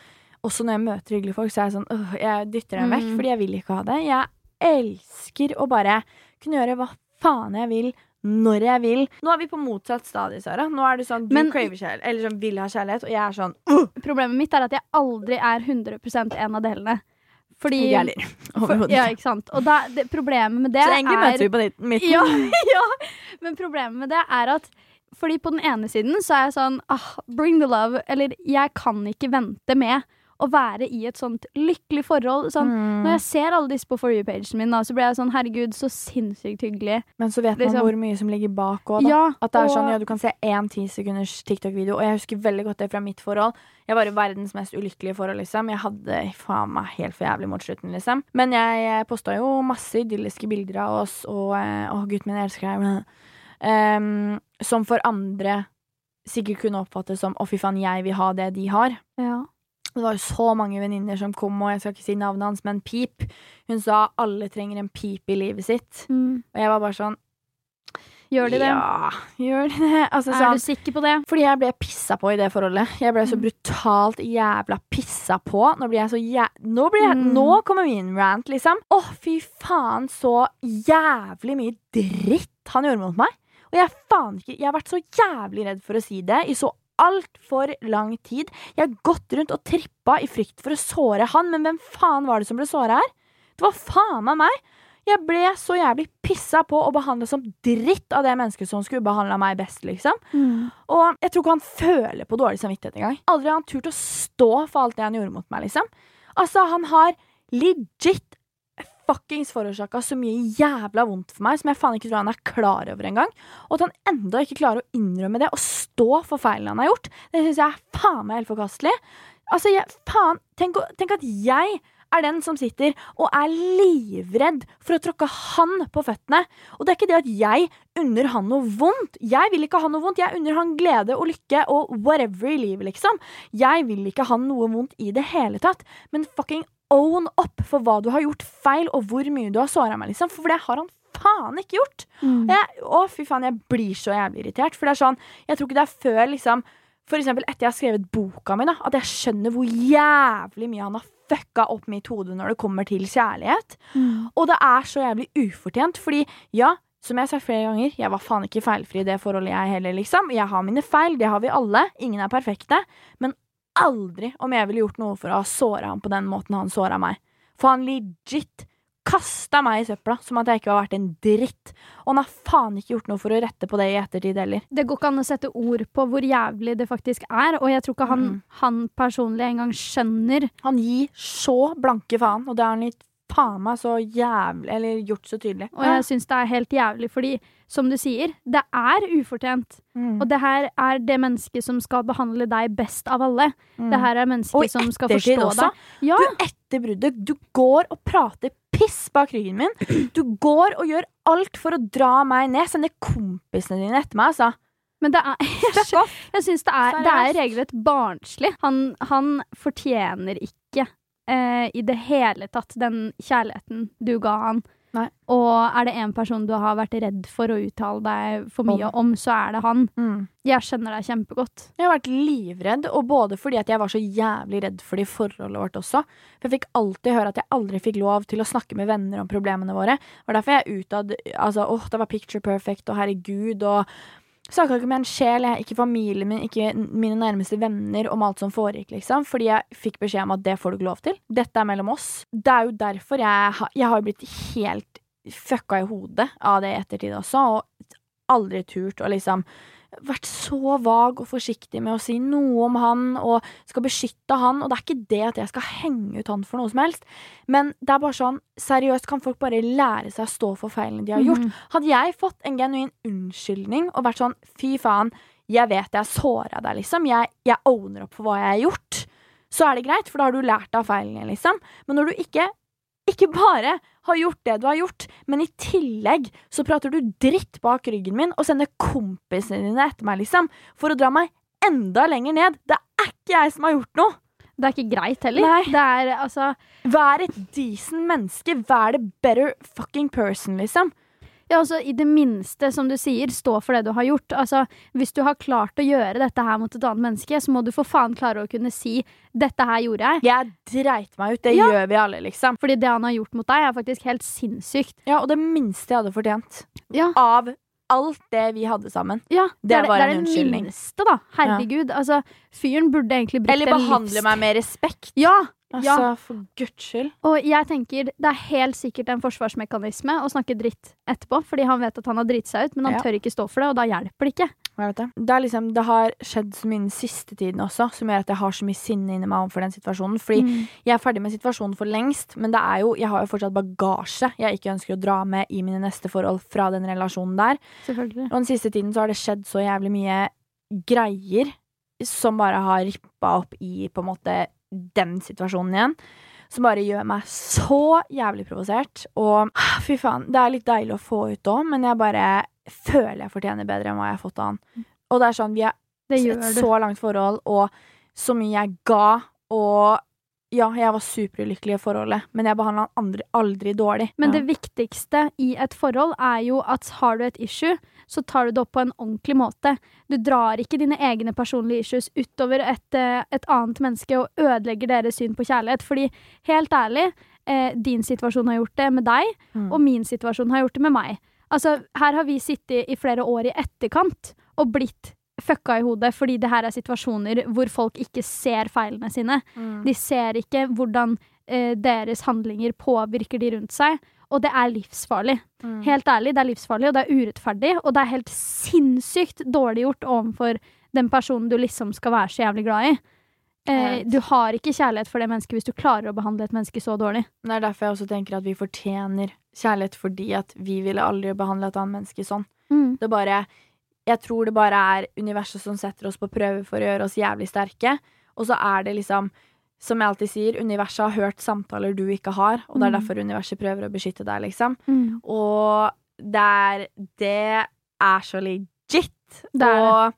Speaker 2: Også når jeg møter hyggelige folk, så er jeg sånn øh, Jeg dytter dem vekk,
Speaker 1: Mm.
Speaker 2: fordi jeg vil ikke ha det. Jeg elsker å bare kunne gjøre hva faen jeg vil. Når jeg vil. Nå er vi på motsatt stadie, Sara. Nå er du sånn, du
Speaker 1: Men-
Speaker 2: craver kjærlighet, eller sånn, vil ha kjærlighet, og jeg er sånn
Speaker 1: Problemet mitt er at jeg aldri er 100 en av delene. Fordi
Speaker 2: Jeg gjelder.
Speaker 1: for,
Speaker 2: Overhodet
Speaker 1: Ja,
Speaker 2: ikke.
Speaker 1: ikke sant. Og da, det, problemet med det
Speaker 2: Så egentlig
Speaker 1: er
Speaker 2: møter vi på ditt- midten. Mm.
Speaker 1: Ja, ja, men problemet med det er at fordi på den ene siden så er jeg sånn ah, Bring the love. Eller jeg kan ikke vente med å være i et sånt lykkelig forhold. Sånn,
Speaker 2: Mm.
Speaker 1: Når jeg ser alle disse på for you-pagen min, da, så blir jeg sånn herregud, så sinnssykt hyggelig.
Speaker 2: Men så vet man
Speaker 1: liksom-
Speaker 2: hvor mye som ligger bak òg, da.
Speaker 1: Ja,
Speaker 2: At det er
Speaker 1: og-
Speaker 2: sånn, ja, Du kan se én ti sekunders TikTok-video, og jeg husker veldig godt det fra mitt forhold. Jeg var i verdens mest ulykkelige forhold, liksom. Jeg hadde faen meg helt for jævlig mot slutten, liksom. Men jeg posta jo masse idylliske bilder av oss, og eh, å, gutten min, jeg elsker deg. Ehm, som for andre sikkert kunne oppfattes som å, fy faen, jeg vil ha det de har.
Speaker 1: ja.
Speaker 2: Det var jo så mange venninner som kom, og jeg skal ikke si navnet hans, men Pip. Hun sa alle trenger en pip i livet sitt.
Speaker 1: Mm.
Speaker 2: Og jeg var bare sånn
Speaker 1: Gjør de det?
Speaker 2: Ja, gjør de det? Altså, sånn,
Speaker 1: Er du sikker på det?
Speaker 2: fordi jeg ble pissa på i det forholdet. Jeg ble så
Speaker 1: Mm.
Speaker 2: brutalt jævla pissa på. Nå blir jeg så jæ... Nå, blir jeg...
Speaker 1: Mm.
Speaker 2: Nå kommer min rant, liksom. Å, fy faen, så jævlig mye dritt han gjorde mot meg. Og jeg faen ikke Jeg har vært så jævlig redd for å si det i så altfor lang tid. Jeg har gått rundt og trippa i frykt for å såre han, men hvem faen var det som ble såra her? Det var faen meg meg. Jeg ble så jævlig pissa på og behandla som dritt av det mennesket som skulle behandla meg best, liksom.
Speaker 1: Mm.
Speaker 2: Og jeg tror ikke han føler på dårlig samvittighet engang. Aldri har han turt å stå for alt det han gjorde mot meg, liksom. Altså, han har legit fuckings forårsaka så mye jævla vondt for meg som jeg faen ikke tror han er klar over engang. Og at han enda ikke klarer å innrømme det og stå for feilen han har gjort, det syns jeg er faen meg helt forkastelig. Altså, jeg, faen, tenk, å- tenk at jeg er den som sitter og er livredd for å tråkke han på føttene. Og det er ikke det at jeg unner han noe vondt. Jeg vil ikke ha noe vondt. Jeg unner han glede og lykke og whatever i livet, liksom. Jeg vil ikke ha noe vondt i det hele tatt. Men fucking own up for hva du har gjort feil, og hvor mye du har såra meg, liksom. For det har han faen ikke gjort.
Speaker 1: Mm.
Speaker 2: Og Jeg, å, fy faen, jeg blir så jævlig irritert. For det er sånn, jeg tror ikke det er før liksom For eksempel etter jeg har skrevet boka mi, da, at jeg skjønner hvor jævlig mye han har fucka opp mitt hode når det kommer til kjærlighet. Og det er så jævlig ufortjent, fordi ja, som jeg har sagt flere ganger, jeg var faen ikke feilfri i det forholdet jeg heller, liksom. Jeg har mine feil, det har vi alle. Ingen er perfekte. Men aldri om jeg ville gjort noe for å ha såra ham på den måten han såra meg. For han legit kasta meg i søpla som at jeg ikke var verdt en dritt. Og han har faen ikke gjort noe for å rette på det i ettertid heller.
Speaker 1: Det går ikke an å sette ord på hvor jævlig det faktisk er, og jeg tror ikke han,
Speaker 2: Mm.
Speaker 1: han personlig engang skjønner
Speaker 2: Han gir så blanke faen, og det har han gitt faen meg så jævlig Eller gjort så tydelig.
Speaker 1: Og jeg syns det er helt jævlig, fordi som du sier, det er ufortjent.
Speaker 2: Mm.
Speaker 1: Og det her er det mennesket som skal behandle deg best av alle.
Speaker 2: Mm.
Speaker 1: Det her er
Speaker 2: Og i
Speaker 1: mennesket som skal
Speaker 2: ettertid
Speaker 1: forstå
Speaker 2: også.
Speaker 1: deg. Ja,
Speaker 2: Du, etter bruddet, du går og prater piss bak ryggen min. Du går og gjør alt for å dra meg ned. Sender kompisene dine etter meg, altså.
Speaker 1: men det er
Speaker 2: Fuck
Speaker 1: Jeg,
Speaker 2: off.
Speaker 1: syns det er, det
Speaker 2: Seriøst.
Speaker 1: er regelrett barnslig. Han, han fortjener ikke eh, i det hele tatt den kjærligheten du ga han.
Speaker 2: Nei.
Speaker 1: Og er det én person du har vært redd for å uttale deg for mye om, så er det han. Jeg skjønner deg kjempegodt.
Speaker 2: Mm. Jeg har vært livredd, og både fordi at jeg var så jævlig redd for det i forholdet vårt også. For jeg fikk alltid høre at jeg aldri fikk lov til å snakke med venner om problemene våre. Det var derfor jeg utad Altså, åh, det var picture perfect, og herregud, og Snakka ikke med en sjel, jeg, ikke familien min, ikke n- mine nærmeste venner om alt som foregikk, liksom. Fordi jeg fikk beskjed om at det får du ikke lov til. Dette er mellom oss. Det er jo derfor jeg, ha- jeg har blitt helt fucka i hodet av det i ettertid også, og aldri turt å liksom vært så vag og forsiktig med å si noe om han, og skal beskytte han, og det er ikke det at jeg skal henge ut han for noe som helst, men det er bare sånn, seriøst, kan folk bare lære seg å stå for feilene
Speaker 1: Mhm.
Speaker 2: de har gjort?
Speaker 1: Mm.
Speaker 2: Hadde jeg fått en genuin unnskyldning og vært sånn, fy faen, jeg vet jeg såra deg, liksom, jeg, jeg owner opp for hva jeg har gjort, så er det greit, for da har du lært av feilene, liksom, men når du ikke ikke bare har gjort det du har gjort, men i tillegg så prater du dritt bak ryggen min og sender kompisene dine etter meg, liksom, for å dra meg enda lenger ned. Det er ikke jeg som har gjort noe!
Speaker 1: Det er ikke greit heller.
Speaker 2: Nei.
Speaker 1: Det er altså
Speaker 2: Vær et decent menneske. Vær the better fucking person, liksom.
Speaker 1: Ja, altså I det minste, som du sier, stå for det du har gjort. Altså, Hvis du har klart å gjøre dette her mot et annet menneske, så må du for faen klare å kunne si 'dette her gjorde jeg'.
Speaker 2: Jeg dreit meg ut. Det
Speaker 1: Ja.
Speaker 2: gjør vi alle, liksom.
Speaker 1: Fordi det han har gjort mot deg, er faktisk helt sinnssykt.
Speaker 2: Ja, og det minste jeg hadde fortjent
Speaker 1: Ja,
Speaker 2: av alt det vi hadde sammen.
Speaker 1: ja
Speaker 2: Det var
Speaker 1: det,
Speaker 2: en
Speaker 1: er det
Speaker 2: unnskyldning.
Speaker 1: minste, da. Herregud. Altså, fyren burde egentlig brukt
Speaker 2: Eller
Speaker 1: en
Speaker 2: behandle
Speaker 1: livs-
Speaker 2: meg med respekt.
Speaker 1: Ja,
Speaker 2: Altså,
Speaker 1: Ja.
Speaker 2: for guds skyld.
Speaker 1: og jeg tenker det er helt sikkert en forsvarsmekanisme å snakke dritt etterpå, fordi han vet at han har driti seg ut, men han
Speaker 2: Ja.
Speaker 1: tør ikke stå for det, og da hjelper det ikke.
Speaker 2: Jeg vet det. Det, er liksom, det har skjedd så mye den siste tiden også, som gjør at jeg har så mye sinne inni meg overfor den situasjonen. Fordi
Speaker 1: Mm.
Speaker 2: jeg er ferdig med situasjonen for lengst, men det er jo, jeg har jo fortsatt bagasje jeg ikke ønsker å dra med i mine neste forhold fra den relasjonen der.
Speaker 1: Selvfølgelig.
Speaker 2: Og den siste tiden så har det skjedd så jævlig mye greier som bare har rippa opp i på en måte den situasjonen igjen. Som bare gjør meg så jævlig provosert. Og ah, fy faen, det er litt deilig å få ut òg, men jeg bare føler jeg fortjener bedre enn hva jeg har fått av han. Og det er sånn, vi er
Speaker 1: Det gjør
Speaker 2: et
Speaker 1: du.
Speaker 2: så langt forhold, og så mye jeg ga, og ja, jeg var superulykkelig i forholdet, men jeg behandla han andre aldri dårlig.
Speaker 1: Men
Speaker 2: ja.
Speaker 1: det viktigste i et forhold er jo at har du et issue, så tar du det opp på en ordentlig måte. Du drar ikke dine egne personlige issues utover et, eh, et annet menneske og ødelegger deres syn på kjærlighet. Fordi, helt ærlig, eh, din situasjon har gjort det med deg,
Speaker 2: Mm.
Speaker 1: og min situasjon har gjort det med meg. Altså, her har vi sittet i flere år i etterkant og blitt fucka i hodet fordi det her er situasjoner hvor folk ikke ser feilene sine.
Speaker 2: Mm.
Speaker 1: De ser ikke hvordan eh, deres handlinger påvirker de rundt seg. Og det er livsfarlig.
Speaker 2: Mm.
Speaker 1: Helt ærlig, det er livsfarlig, og det er urettferdig. Og det er helt sinnssykt dårlig gjort overfor den personen du liksom skal være så jævlig glad i. Eh,
Speaker 2: Jeg vet.
Speaker 1: du har ikke kjærlighet for det mennesket hvis du klarer å behandle et menneske så dårlig.
Speaker 2: Det er derfor jeg også tenker at vi fortjener kjærlighet, fordi at vi ville aldri behandle et annet menneske sånn. Det er bare Jeg tror det bare er universet som setter oss på prøve for å gjøre oss jævlig sterke, og så er det liksom som jeg alltid sier, universet har hørt samtaler du ikke har, og det er
Speaker 1: Mm.
Speaker 2: derfor universet prøver å beskytte deg, liksom.
Speaker 1: Mm.
Speaker 2: Og det er Det er så legit.
Speaker 1: Det Mm. er det.
Speaker 2: og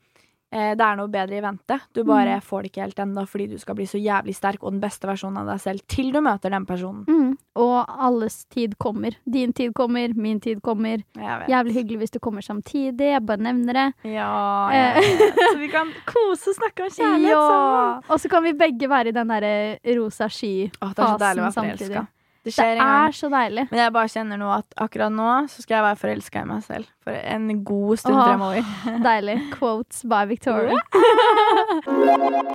Speaker 2: eh, det er noe bedre i vente. Du bare får det ikke helt ennå fordi du skal bli så jævlig sterk og den beste versjonen av deg selv til du møter den personen.
Speaker 1: Mm. Og alles tid kommer. Din tid kommer, min tid kommer.
Speaker 2: Jeg vet.
Speaker 1: Jævlig hyggelig hvis du kommer samtidig. Jeg bare nevner det.
Speaker 2: Ja,
Speaker 1: Eh.
Speaker 2: jeg vet. Så vi kan kose og snakke om kjærlighet sammen.
Speaker 1: Ja. Og så kan vi begge være i den derre rosa sky.
Speaker 2: Åh, det er
Speaker 1: Fasen
Speaker 2: så deilig å være
Speaker 1: samtidig.
Speaker 2: forelska. Det
Speaker 1: Det
Speaker 2: skjer en gang.
Speaker 1: er så deilig.
Speaker 2: Men jeg bare kjenner nå at akkurat nå så skal jeg være forelska i meg selv. For en god stund
Speaker 1: Åh.
Speaker 2: fremover.
Speaker 1: Deilig. Quotes by Victoria.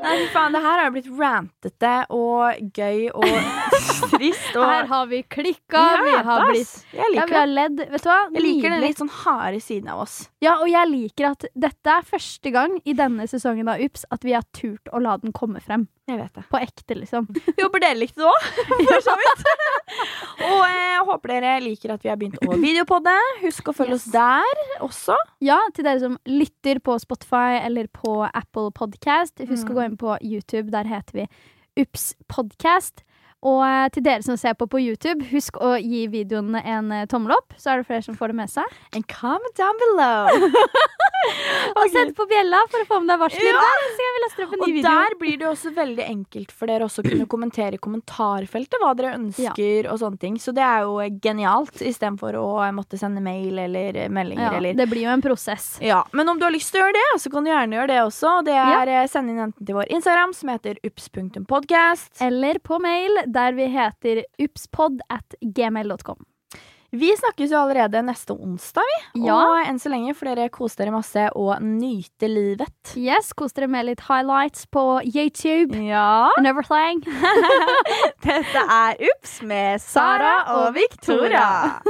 Speaker 2: Nei, fy faen, det her har jo blitt rantete og gøy og trist og
Speaker 1: Her har vi klikka,
Speaker 2: Jeg
Speaker 1: vi
Speaker 2: vet,
Speaker 1: har
Speaker 2: ass.
Speaker 1: blitt
Speaker 2: Jeg
Speaker 1: ja,
Speaker 2: liker
Speaker 1: vi har
Speaker 2: det.
Speaker 1: ledd. Vet du hva?
Speaker 2: Jeg liker den
Speaker 1: Nydelig.
Speaker 2: litt sånn harde siden av oss.
Speaker 1: Ja, og jeg liker at dette er første gang i denne sesongen av Ups at vi har turt å la den komme frem.
Speaker 2: Jeg vet det.
Speaker 1: På ekte, liksom.
Speaker 2: Vi håper dere likte det òg, for så vidt. Og eh, jeg håper dere liker at vi har begynt å videopodde. Husk å følge oss der også.
Speaker 1: Ja, til dere som lytter på Spotify eller på Apple Podcast. Husk
Speaker 2: Mm.
Speaker 1: å gå inn på YouTube, der heter vi Ups Podcast. Og eh, til dere som ser på på YouTube, husk å gi videoen en eh, tommel opp, så er det flere som får det med seg.
Speaker 2: And comment down below.
Speaker 1: Og sett på bjella for å få med deg varsler
Speaker 2: Ja.
Speaker 1: der, så kan vi laste opp en
Speaker 2: Og
Speaker 1: ny video.
Speaker 2: der blir det jo også veldig enkelt for dere også å kunne kommentere i kommentarfeltet hva dere ønsker og sånne ting. Så det er jo genialt, istedenfor å eh, måtte sende mail eller eh, meldinger
Speaker 1: Ja,
Speaker 2: eller
Speaker 1: det blir jo en prosess.
Speaker 2: Ja, Men om du har lyst til å gjøre det, så kan du gjerne gjøre det også. Det er eh, Send inn enten til vår Instagram, som heter ups.podcast.
Speaker 1: Eller på mail, der vi heter upspod at gmail.com.
Speaker 2: Vi snakkes jo allerede neste onsdag, vi.
Speaker 1: Ja.
Speaker 2: Og enn så lenge får dere kose dere masse og nyte livet.
Speaker 1: Yes, kos dere med litt highlights på YouTube.
Speaker 2: Ja.
Speaker 1: And everything.
Speaker 2: Dette er Ups med Sara og Victoria.